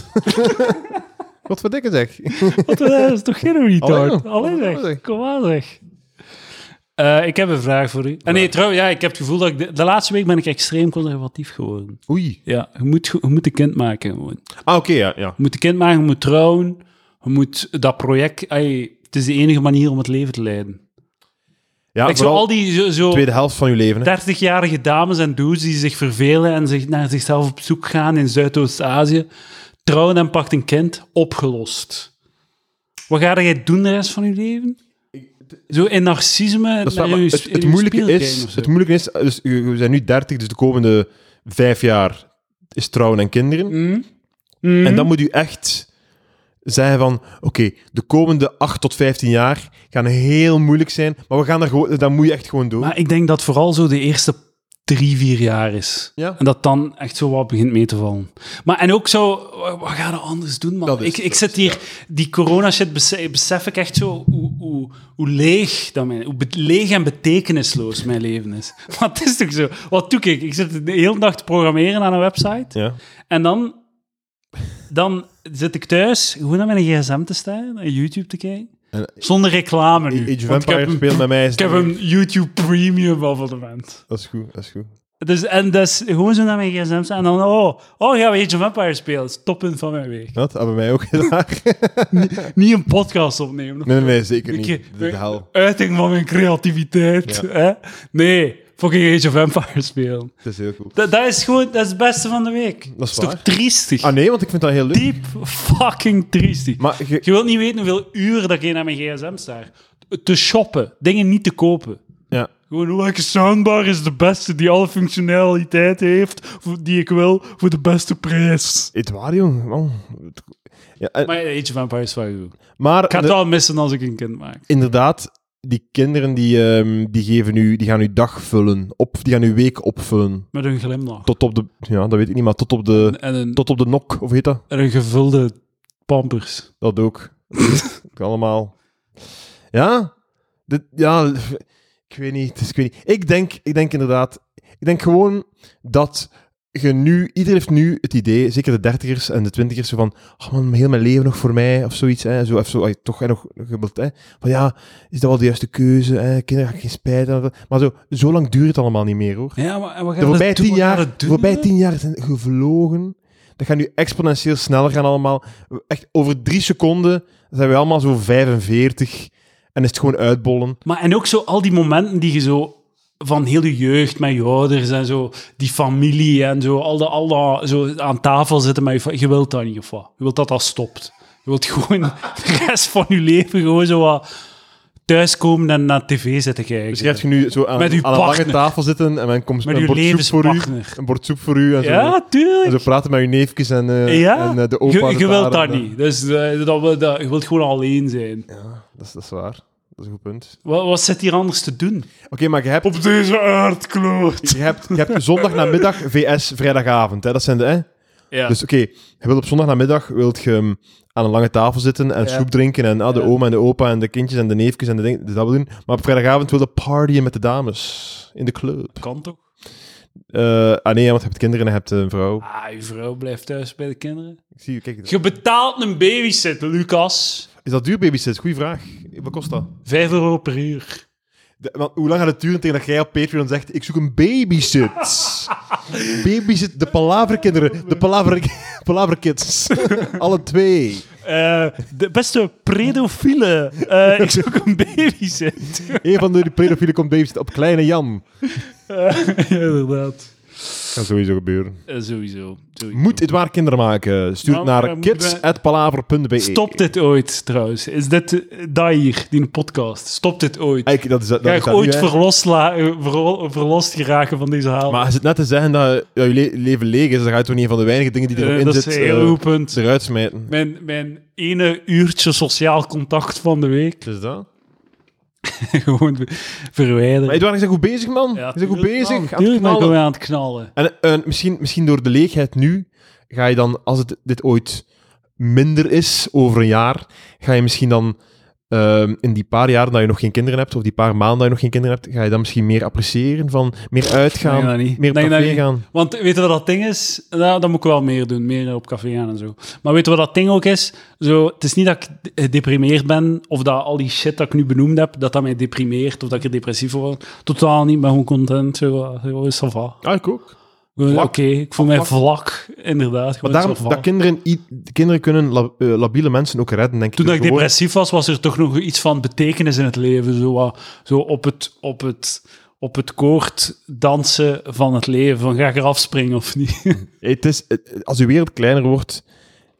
Wat voor dikke zeg.
Wat, eh, dat is toch geen
Allee,
retard?
joh.
Allee
Kom maar,
zeg,
zeg.
kom aan zeg. Eh, ik heb een vraag voor
Ah,
u. En nee, trouwens, ja, ik heb het gevoel dat ik... De, de laatste week ben ik extreem conservatief geworden.
Oei.
Ja, je moet, je moet een kind maken gewoon.
Ah, oké, ja, ja.
Je moet een kind maken, je moet trouwen. Je moet dat project... ai, het is de enige manier om het leven te leiden.
Ja,
ik zou
vooral
al die zo, zo
tweede helft van je leven. Hè.
30-jarige dames en dudes die zich vervelen en zich naar zichzelf op zoek gaan in Zuidoost-Azië, trouwen en pakt een kind, opgelost. Wat ga jij doen de rest van je leven? Zo in narcisme
Dat is
naar
waar, maar
je-
het,
in
het
je
moeilijke
spiegel
is,
kijken of zo.
het moeilijke is, dus, eh, we zijn nu 30, dus de komende vijf jaar is trouwen en kinderen.
Mm.
En dan moet u echt zeggen van, oké, de komende 8 tot 15 jaar gaan heel moeilijk zijn, maar we gaan er gewoon, dat moet je echt gewoon doen.
Maar ik denk dat vooral zo de eerste drie, vier jaar is.
Ja.
En dat dan echt zo wat begint mee te vallen. Maar en ook zo, wa- wat ga je anders doen, man?
Dat is
ik,
het,
ik zit hier, die corona-shit bese- besef ik echt zo hoe, hoe, hoe leeg dat mijn, hoe be- leeg en betekenisloos mijn leven is. Want het is toch zo, wat doe ik? Ik zit de hele dag te programmeren aan een website.
ja.
En dan, dan zit ik thuis gewoon naar mijn gsm te staan en YouTube te kijken.
En-
Zonder reclame nu.
Age of
want ik heb
Empires
een
speelt met mij.
ik heb een YouTube Premium abonnement.
Dat is goed, dat is goed.
Dus, en dat is gewoon zo naar mijn gsm staan. En dan, oh, oh gaan we Age of Empires spelen. Dat is het toppunt van mijn week.
Dat hebben wij ook gedaan.
Niet een podcast opnemen.
Nee, nee, nee, zeker
Ik-
niet.
ik-
De hel.
Uiting van mijn creativiteit.
Ja.
Hè? Nee, fucking Age of Empires spelen.
Het is heel cool.
Dat, dat is gewoon dat is het beste van de week.
Dat is
toch
waar.
triestig?
Ah nee, want ik vind dat heel leuk.
Diep fucking triestig.
Maar je-
je wilt niet weten hoeveel uren dat ik naar mijn gsm sta. Te shoppen, dingen niet te kopen.
ja.
Gewoon, welke soundbar is de beste die alle functionaliteit heeft voor- die ik wil voor de beste prijs?
Edouard, jong. Man. Ja, en-
Maar Age of Empires 5. Ik
maar
ga het
de-
wel missen als ik een kind maak.
inderdaad, die kinderen die, ehm, die, geven u, die gaan uw dag vullen. Op, die gaan uw week opvullen.
Met een glimlach.
Tot op de... Ja, dat weet ik niet, maar tot op de,
En een,
tot op de nok, of hoe heet dat?
en een gevulde pampers.
Dat ook. Ook allemaal. Ja? Dit, ja, ik weet niet. het is- ik, weet niet. Ik, denk, ik denk inderdaad... Ik denk gewoon dat je nu... Iedereen heeft nu het idee, zeker de dertigers en de twintigers, zo van... Oh man, heel mijn leven nog voor mij, of zoiets. Hè, zo, of zo, ay, toch hè, nog gebeeld, hè. Van ja, is dat wel de juiste keuze? Hè? Kinderen, ga ik geen spijt hebben. Maar zo, zo lang duurt het allemaal niet meer, hoor.
Ja, maar en wat
De
gaan we
voorbije
doen?
tien
Wat gaan we
jaar, de
doen?
voorbije tien jaar zijn gevlogen. Dat gaat nu exponentieel sneller gaan allemaal. Echt over drie seconden zijn we allemaal zo 45 en is het gewoon uitbollen.
Maar en ook zo al die momenten die je zo van heel je jeugd met je ouders en zo, die familie en zo, al dat, al dat zo aan tafel zitten met je fa- Je wilt dat niet, of wat? Je wilt dat dat stopt. Je wilt gewoon de rest van je leven gewoon zo wat thuiskomen en naar tv zitten kijken.
Dus je hebt nu zo aan,
Met uw
aan een lange
partner.
tafel zitten en dan komt
Met
een
uw
bord soep voor u.
levenspartner.
Een bord soep voor u en zo.
ja,
En
tuurlijk.
zo praten met uw neefjes en, eh,
ja,
en eh, de opa.
je,
de
je wilt
vader.
dat niet. Dus eh, dat, wil- dat- je wilt gewoon alleen zijn.
Ja, dat is, dat is waar. Dat is een goed punt.
Wat, wat zit hier anders te doen?
Oké, maar je hebt...
Op deze aardkloot.
Je hebt, je hebt zondagnamiddag, VS, vrijdagavond. Hè? Dat zijn de... Hè?
Ja.
Dus oké, je wilt op zondagnamiddag wilt je ehm, aan een lange tafel zitten en
Ja.
soep drinken en ah, de
Ja.
oma en de opa en de kindjes en de neefjes en de dingen, dus dat wil doen. Maar op vrijdagavond wil je partyen met de dames in de club.
kan toch?
Eh, ah nee, want je hebt kinderen en je hebt een vrouw.
Ah, je vrouw blijft thuis bij de kinderen.
Ik zie je, kijk.
Je betaalt een babysitter, Lucas.
Is dat duur babysit? Goeie vraag. Wat kost dat?
Vijf euro per uur.
De- want hoe lang gaat het duren tegen dat jij op Patreon zegt, ik zoek een babysit? babysit, de palaverkinderen, de palaver, palaverkids. Alle twee.
Eh,
De beste predofiele. eh, ik zoek een babysitter.
Eén van de pedofielen komt babysitten op kleine Jan.
ja, inderdaad.
Dat gaat sowieso gebeuren.
Eh, sowieso. sowieso.
Moet het waar kinderen maken? Stuur het
Nou,
naar
eh, moeten we-
kids.palaver.be.
Stop dit ooit, trouwens. Is dit eh, dat hier, die podcast? Stop dit ooit.
Eigenlijk, dat is, dat
Ga
is
ik
dat
ooit
nu, hè.
verlost, la- eh, verlo- verlost geraken van deze haal?
Maar hij zit net te zeggen dat ja, je le- leven leeg is. Dan gaat toch een van de weinige dingen die
Eh,
erin
dat
zit
is een heel
eh,
goed punt.
eruit smijten.
Mijn, mijn ene uurtje sociaal contact van de week.
Dus dat?
gewoon ver- verwijderen.
Maar Edouard, je bent goed bezig, man.
Ja,
je bent goed
tuurlijk, man.
bezig. Aan het
Tuurlijk ben ik
nou knallen.
gewoon aan het knallen.
En eh, misschien, misschien door de leegheid nu ga je dan, als het dit ooit minder is, over een jaar, ga je misschien dan ehm, in die paar jaar dat je nog geen kinderen hebt, of die paar maanden dat je nog geen kinderen hebt, ga je dan misschien meer appreciëren, van meer uitgaan,
Denk dat niet.
meer op
Denk dat
café
niet.
gaan.
Want weet je wat dat ding is? Nou, dat moet ik wel meer doen, meer op café gaan en zo. Maar weet je wat dat ding ook is? Zo, het is niet dat ik d- gedeprimeerd ben, of dat al die shit dat ik nu benoemd heb, dat dat mij deprimeert, of dat ik er depressief voor word. Totaal niet, ik ben gewoon content. Zo, eh, zo is ça va.
Ja, Ah, ik ook.
Gewoon, Oké,
Vlak.
ik voel mij vlak, inderdaad.
Maar
gewoon
daarom,
ça va.
dat kinderen, i- kinderen kunnen la- eh, labiele mensen ook redden, denk
Toen
ik.
dat ik
Gewoon-
depressief was, was er toch nog iets van betekenis in het leven. Zo, wat- zo op, het, op, het, op het koord dansen van het leven. Van ga ik eraf springen of niet?
Hey, het is, eh, als je wereld kleiner wordt,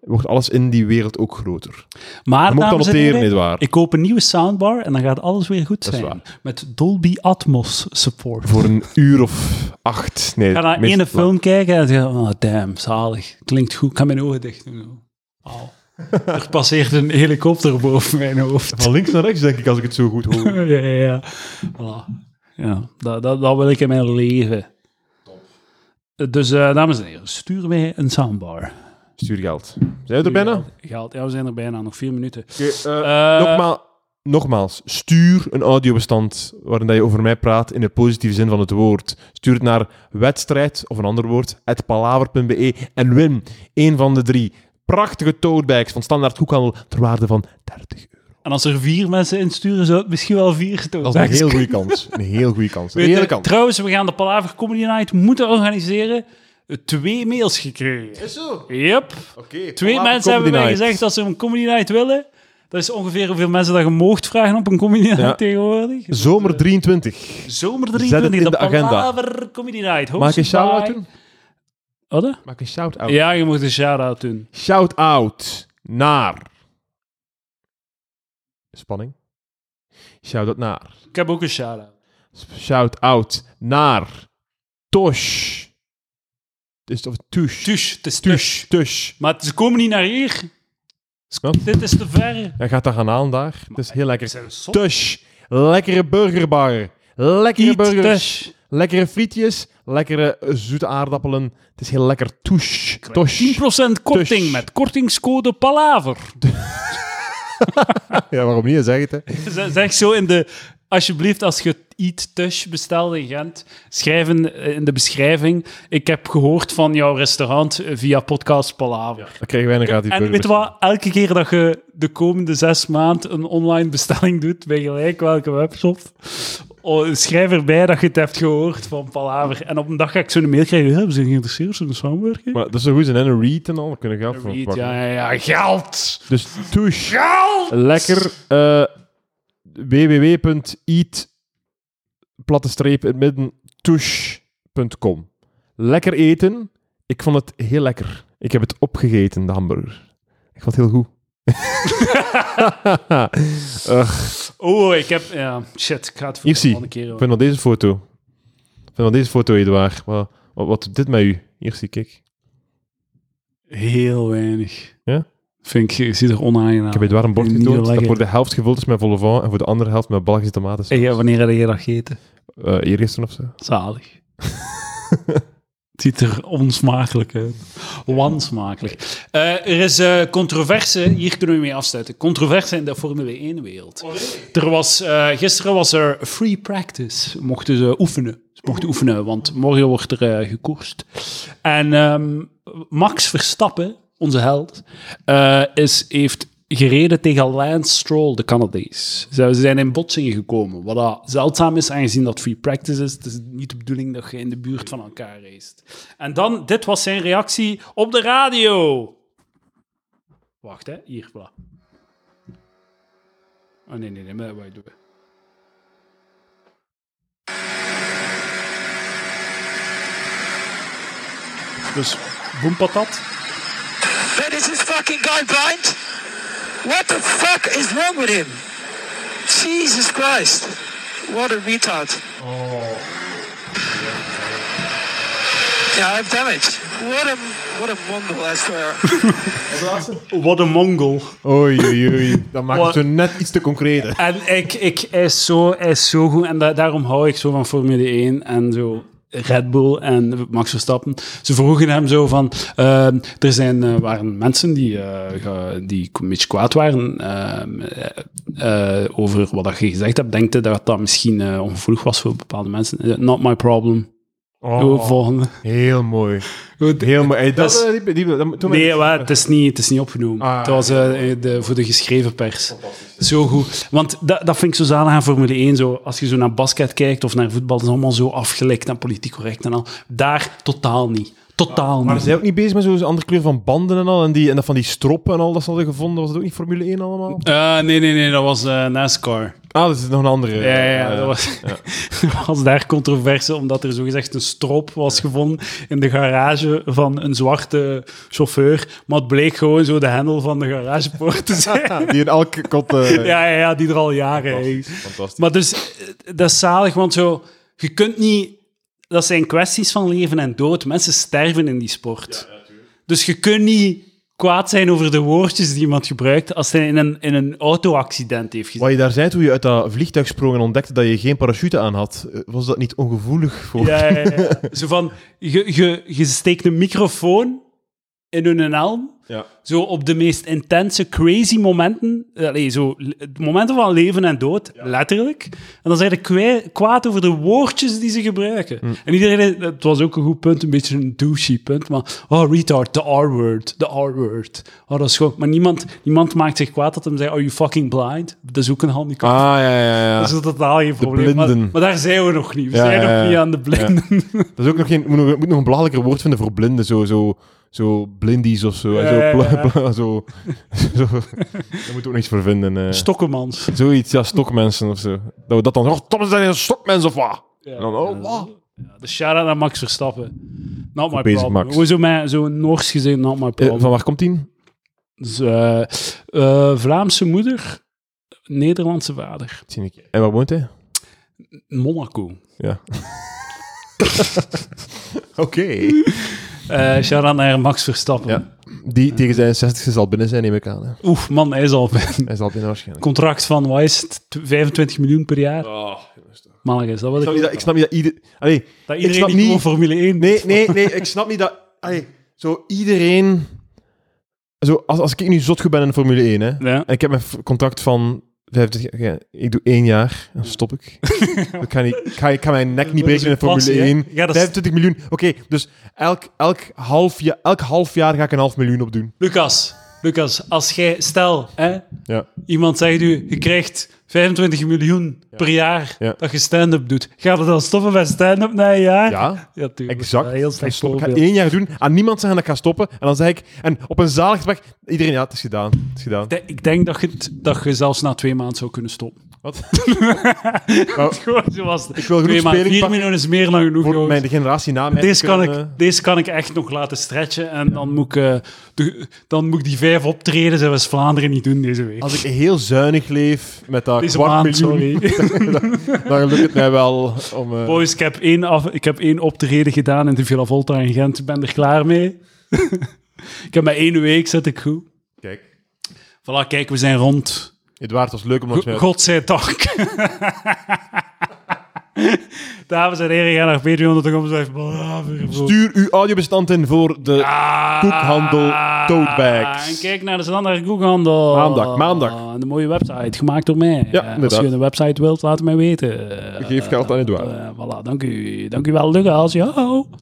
wordt alles in die wereld ook groter.
Maar
Je moet dan
dames en heren,
noteren, Edouard.
ik koop een nieuwe soundbar en dan gaat alles weer goed
Dat is
zijn. Met Dolby Atmos support.
Voor een uur of acht. Nee,
Ik ga naar
minstens
ene
lang.
film kijken en zeg oh damn, zalig. Klinkt goed, ik ga mijn ogen dicht doen. Wauw. er passeert een helikopter boven mijn hoofd.
Van links naar rechts, denk ik, als ik het zo goed hoor.
ja, ja, ja. Voilà. ja dat, dat, dat wil ik in mijn leven. Dus eh, dames en heren, stuur mij een soundbar.
Stuur geld. Zijn we er bijna?
Geld. Ja, we zijn er bijna. Nog vier minuten.
Oké, eh,
Eh,
nogmaal- nogmaals, stuur een audiobestand waarin dat je over mij praat in de positieve zin van het woord. Stuur het naar wedstrijd, of een ander woord, at palaver.be en win een van de drie prachtige totebags van Standaard Hoekhandel ter waarde van 30 euro.
En als er vier mensen insturen, zou het misschien wel vier stoten.
Dat is een heel goede kans. Een heel goede kans. Een
Weet je,
hele kans.
Trouwens, we gaan de Palaver Comedy Night moeten organiseren. Twee mails gekregen.
Is zo?
Yep.
Oké.
Twee mensen hebben mij gezegd dat ze een Comedy Night willen. Dat is ongeveer hoeveel mensen dat je moogt vragen op een Comedy Night
Ja.
tegenwoordig.
Zomer 23.
Zomer
Zet
23,
het
de,
in de agenda.
Palaver Comedy Night.
Maak
hosted
een shout-out
by-
doen? Oh.
Wat, hè?
Maak een shout-out.
Ja, je moet een shout-out doen.
Shout-out naar... Spanning. Shout-out naar...
Ik heb ook een shout-out.
Shout-out naar Tosh. Is het of Tush?
Tush, het is tush.
Tush. Tush.
Maar ze komen niet naar hier.
Wat?
Dit is te ver.
Hij gaat daar gaan aan daar. Het is heel
Ze
lekker.
zijn zot.
Tush. Lekkere burgerbar. Lekkere
Eat
burgers.
Tush.
Lekkere frietjes. Lekkere eh, zoete aardappelen. Het is heel lekker. Tush. Tosh.
10% korting
Tush.
met kortingscode Palaver.
Ja, waarom niet? Zeg het, hè.
Z- Zeg zo in de. Alsjeblieft, als je Eat Tush bestelt in Gent, schrijf in, in de beschrijving. Ik heb gehoord van jouw restaurant eh, via podcast Palaver.
Dan krijgen wij een gratis
en
burger.
weet je wat? Elke keer dat je de komende zes maanden een online bestelling doet, bij gelijk welke webshop, oh, schrijf erbij dat je het hebt gehoord van Palaver. En op een dag ga ik zo'n mail krijgen. "Ja, We zijn geïnteresseerd in de samenwerking.
Maar dat is zo goed zijn. En een read en al. We kunnen geld voor
Eat,
pakken.
ja, ja, ja, geld!
Dus Tush.
Geld!
Lekker. eh www.eat platte streep in het midden tush.com. Lekker eten. Ik vond het heel lekker. Ik heb het opgegeten, de hamburger. Ik vond het heel goed. Ugh,
Oh, ik heb. Ja, shit, ik ga het voor
Hier
de
zie.
volgende keer.
ik
hoor.
vind wel deze foto. Ik vind wel deze foto, Eduard. Wat, wat, wat doet dit met u? Hier zie ik. Ik
Heel weinig.
Ja?
Vind ik, je ziet er onaangenaam.
heb Eduard een bord
Ah, Niet
getoond dat
lekker.
voor de helft gevuld is met vol au vent en voor de andere helft met Belgische tomaten.
En ja, wanneer heb je dat gegeten?
Eh, eergisteren of zo.
Zalig. Het ziet er onsmakelijk uit. Wansmakelijk. Eh, er is eh, controverse, hier kunnen we mee afsluiten. Controverse in de Formule 1-wereld.
Oh,
Er was, eh, gisteren was er free practice. Mochten ze oefenen. Ze mochten oefenen, want morgen wordt er eh, gekoerst. En ehm, Max Verstappen, onze held, eh, is, heeft gereden tegen Lance Stroll, de Canadees. Ze ze zijn in botsingen gekomen, wat dat zeldzaam is, aangezien dat free practice is. Het is niet de bedoeling dat je in de buurt van elkaar reist. En dan, dit was zijn reactie op de radio. Wacht, hè. Hier, voilà. Oh, nee, nee, nee. Maar wij doen Dus, boempatat.
Man, is this fucking guy blind? What the fuck is wrong with him? Jesus Christ. What a retard. Oh. Yeah, I've damaged. What a What a mongrel, I swear.
Wat een mongol.
Oei, oei, oei. Dat maakt
Wat?
het zo net iets te concreter.
En ik, ik, hij, is zo, hij is zo goed. En da- daarom hou ik zo van Formule 1 en zo Red Bull en Max Verstappen. Ze vroegen hem zo van... ehm, er zijn, eh, waren mensen die, eh, ge- die een beetje kwaad waren ehm, eh, eh, over wat dat je gezegd hebt. Denk je dat dat misschien eh ongevoelig was voor bepaalde mensen? Eh, Not my problem. Oh, volgende.
Heel mooi.
Goed.
Heel mooi. Hey, dat,
Dat is-
eh, die, die, dat- toen
Nee, maar het, is niet, het is niet opgenomen.
Ah,
het was eh, de, voor de geschreven pers. Zo goed. Want dat, dat vind ik zo zalig aan Formule 1. Zo, als je zo naar basket kijkt of naar voetbal, dat is allemaal zo afgelekt en politiek correct en al. Daar totaal niet. Totaal
Maar
niet.
zijn ook niet bezig met zo'n andere kleur van banden en al? En, die, en dat van die stroppen en al dat ze hadden gevonden? Was dat ook niet Formule 1 allemaal?
Eh, nee, nee, nee, dat was eh, NASCAR.
Ah, dat is nog een andere. eh,
Ja, ja, dat was, was daar controverse, omdat er zogezegd een strop was gevonden in de garage van een zwarte chauffeur. Maar het bleek gewoon zo de hendel van de garagepoort te zijn.
Die in elke kot... eh,
Ja, ja, ja, die er al jaren heeft.
Fantastisch.
Maar dus, eh, dat is zalig, want zo, je kunt niet... Dat zijn kwesties van leven en dood. Mensen sterven in die sport. dus je kunt niet kwaad zijn over de woordjes die iemand gebruikt als hij in een, in een auto-accident heeft gezeten.
Wat je daar zei toen je uit dat vliegtuig sprong en ontdekte dat je geen parachute aan had, eh, was dat niet ongevoelig voor...
Ja, ja, ja. Zo van, je, je, je steekt een microfoon in hun helm.
Ja.
Zo op de meest intense, crazy momenten. eh, Allee, zo, l- het momenten van leven en dood, letterlijk. En dan zijn ze kwa- kwaad over de woordjes die ze gebruiken.
Hm.
En iedereen, het was ook een goed punt, een beetje een douchey punt. Maar, oh, retard, de R-word, de R-word. Oh, dat is gewoon... Maar niemand, niemand maakt zich kwaad dat hem zei, are you fucking blind? Dat is ook een handicap.
Ah, ja, ja, ja.
Dat is totaal geen probleem. Maar,
blinden.
maar daar zijn we nog niet. We
Ja,
zijn
ja,
nog
ja.
niet aan de blinden.
Dat is ook nog geen... Moet nog, moet nog een belangrijker woord vinden voor blinden. Zo, zo, zo blindies of zo.
Ja,
zo,
ja, ja.
pla- pla- zo, zo. Daar moet ook niks voor vinden. eh.
Stokkemans.
Zoiets, ja, stokmensen of zo. Dat we dat dan... Oh, Tom, zijn er stokmensen of wat? En dan, oh, wat?
Ja, de shout-out aan Max Verstappen. Not my
bezig,
problem.
Max.
Hoe zo mijn- Zo'n Noors gezin, not my
Eh,
problem.
van waar komt die?
Dus, eh, eh, Vlaamse moeder, Nederlandse vader.
Zie ik. En waar woont hij?
Monaco.
Ja. Oké.
Eh shout-out naar Max Verstappen.
Ja. Die tegen zijn 60 zal binnen zijn, neem ik aan. Hè.
Oef, man, hij is al bij een
Hij zal binnen waarschijnlijk.
contract van, wat is het, 25 miljoen per jaar? Mannelijk is dat wat ik...
Ik snap niet dat, ik snap niet dat ieder... Allee,
dat
ik
iedereen
snap
die
niet-
gewoon Formule 1
nee, nee, nee, ik snap niet dat... Allee, zo iedereen... Zo, als, als ik nu zot goed ben in de Formule 1, hè,
Ja.
en ik heb mijn v- contract van 25 jaar... oké, ik doe één jaar, dan stop ik. ik, ga niet, ik, ga, ik ga mijn nek niet
Dat is
breken in de
uw
Formule
passie, hè?
1.
Ja, dat is-
25 miljoen. Oké, dus elk, elk, half jaar, elk half jaar ga ik een half miljoen opdoen.
Lucas, Lucas, als jij, stel, hè,
Ja.
iemand zegt u, je krijgt 25 miljoen per jaar
Ja.
dat je stand-up doet. Gaat het dan stoppen met stand-up na een jaar?
Ja,
tuurlijk.
exact.
Dat is een Heel
ik,
slecht
stop, ik ga
voorbeeld.
één jaar doen, aan niemand zeggen dat ik ga stoppen. En dan zeg ik... En op een zalig gesprek... Iedereen, ja, het is gedaan. Het is gedaan.
De- Ik denk dat je, het- dat je zelfs na twee maanden zou kunnen stoppen.
Wat?
Gewoon zoals ik
wil
twee
genoeg
maanden,
speling
vier
pakken
minuten is meer dan genoeg.
Voor
jongens.
mijn de generatie na mij...
Deze kan,
kunnen, eh,
ik, deze kan ik echt nog laten stretchen. En dan, moet ik, eh, de- dan moet ik die vijf optreden zijn West-Vlaanderen niet doen deze week.
Als ik heel zuinig leef met dat
deze
kwart
maand,
miljoen,
sorry.
dan lukt het mij wel om... eh,
Boys, ik heb, één af, ik heb één optreden gedaan in de Villa Volta in Gent. Ik ben er klaar mee. ik heb maar één week, zet ik goed.
Kijk,
Voilà, kijk, we zijn rond.
Edouard, het was leuk om ons
Go-
met-
Godzijdank. Dames en heren, ga naar patreon.com. slash Braver voor-
Stuur uw audiobestand in voor de koekhandel tote bags.
En Ah, kijk naar de standaard Koekhandel.
Maandag, maandag.
En de mooie website, gemaakt door mij. Eh, Als
inderdaad.
je een website wilt, laat het mij weten.
Geef geld aan Edouard.
Eh, voilà, dank u. Dank u wel, Lucas. Ja.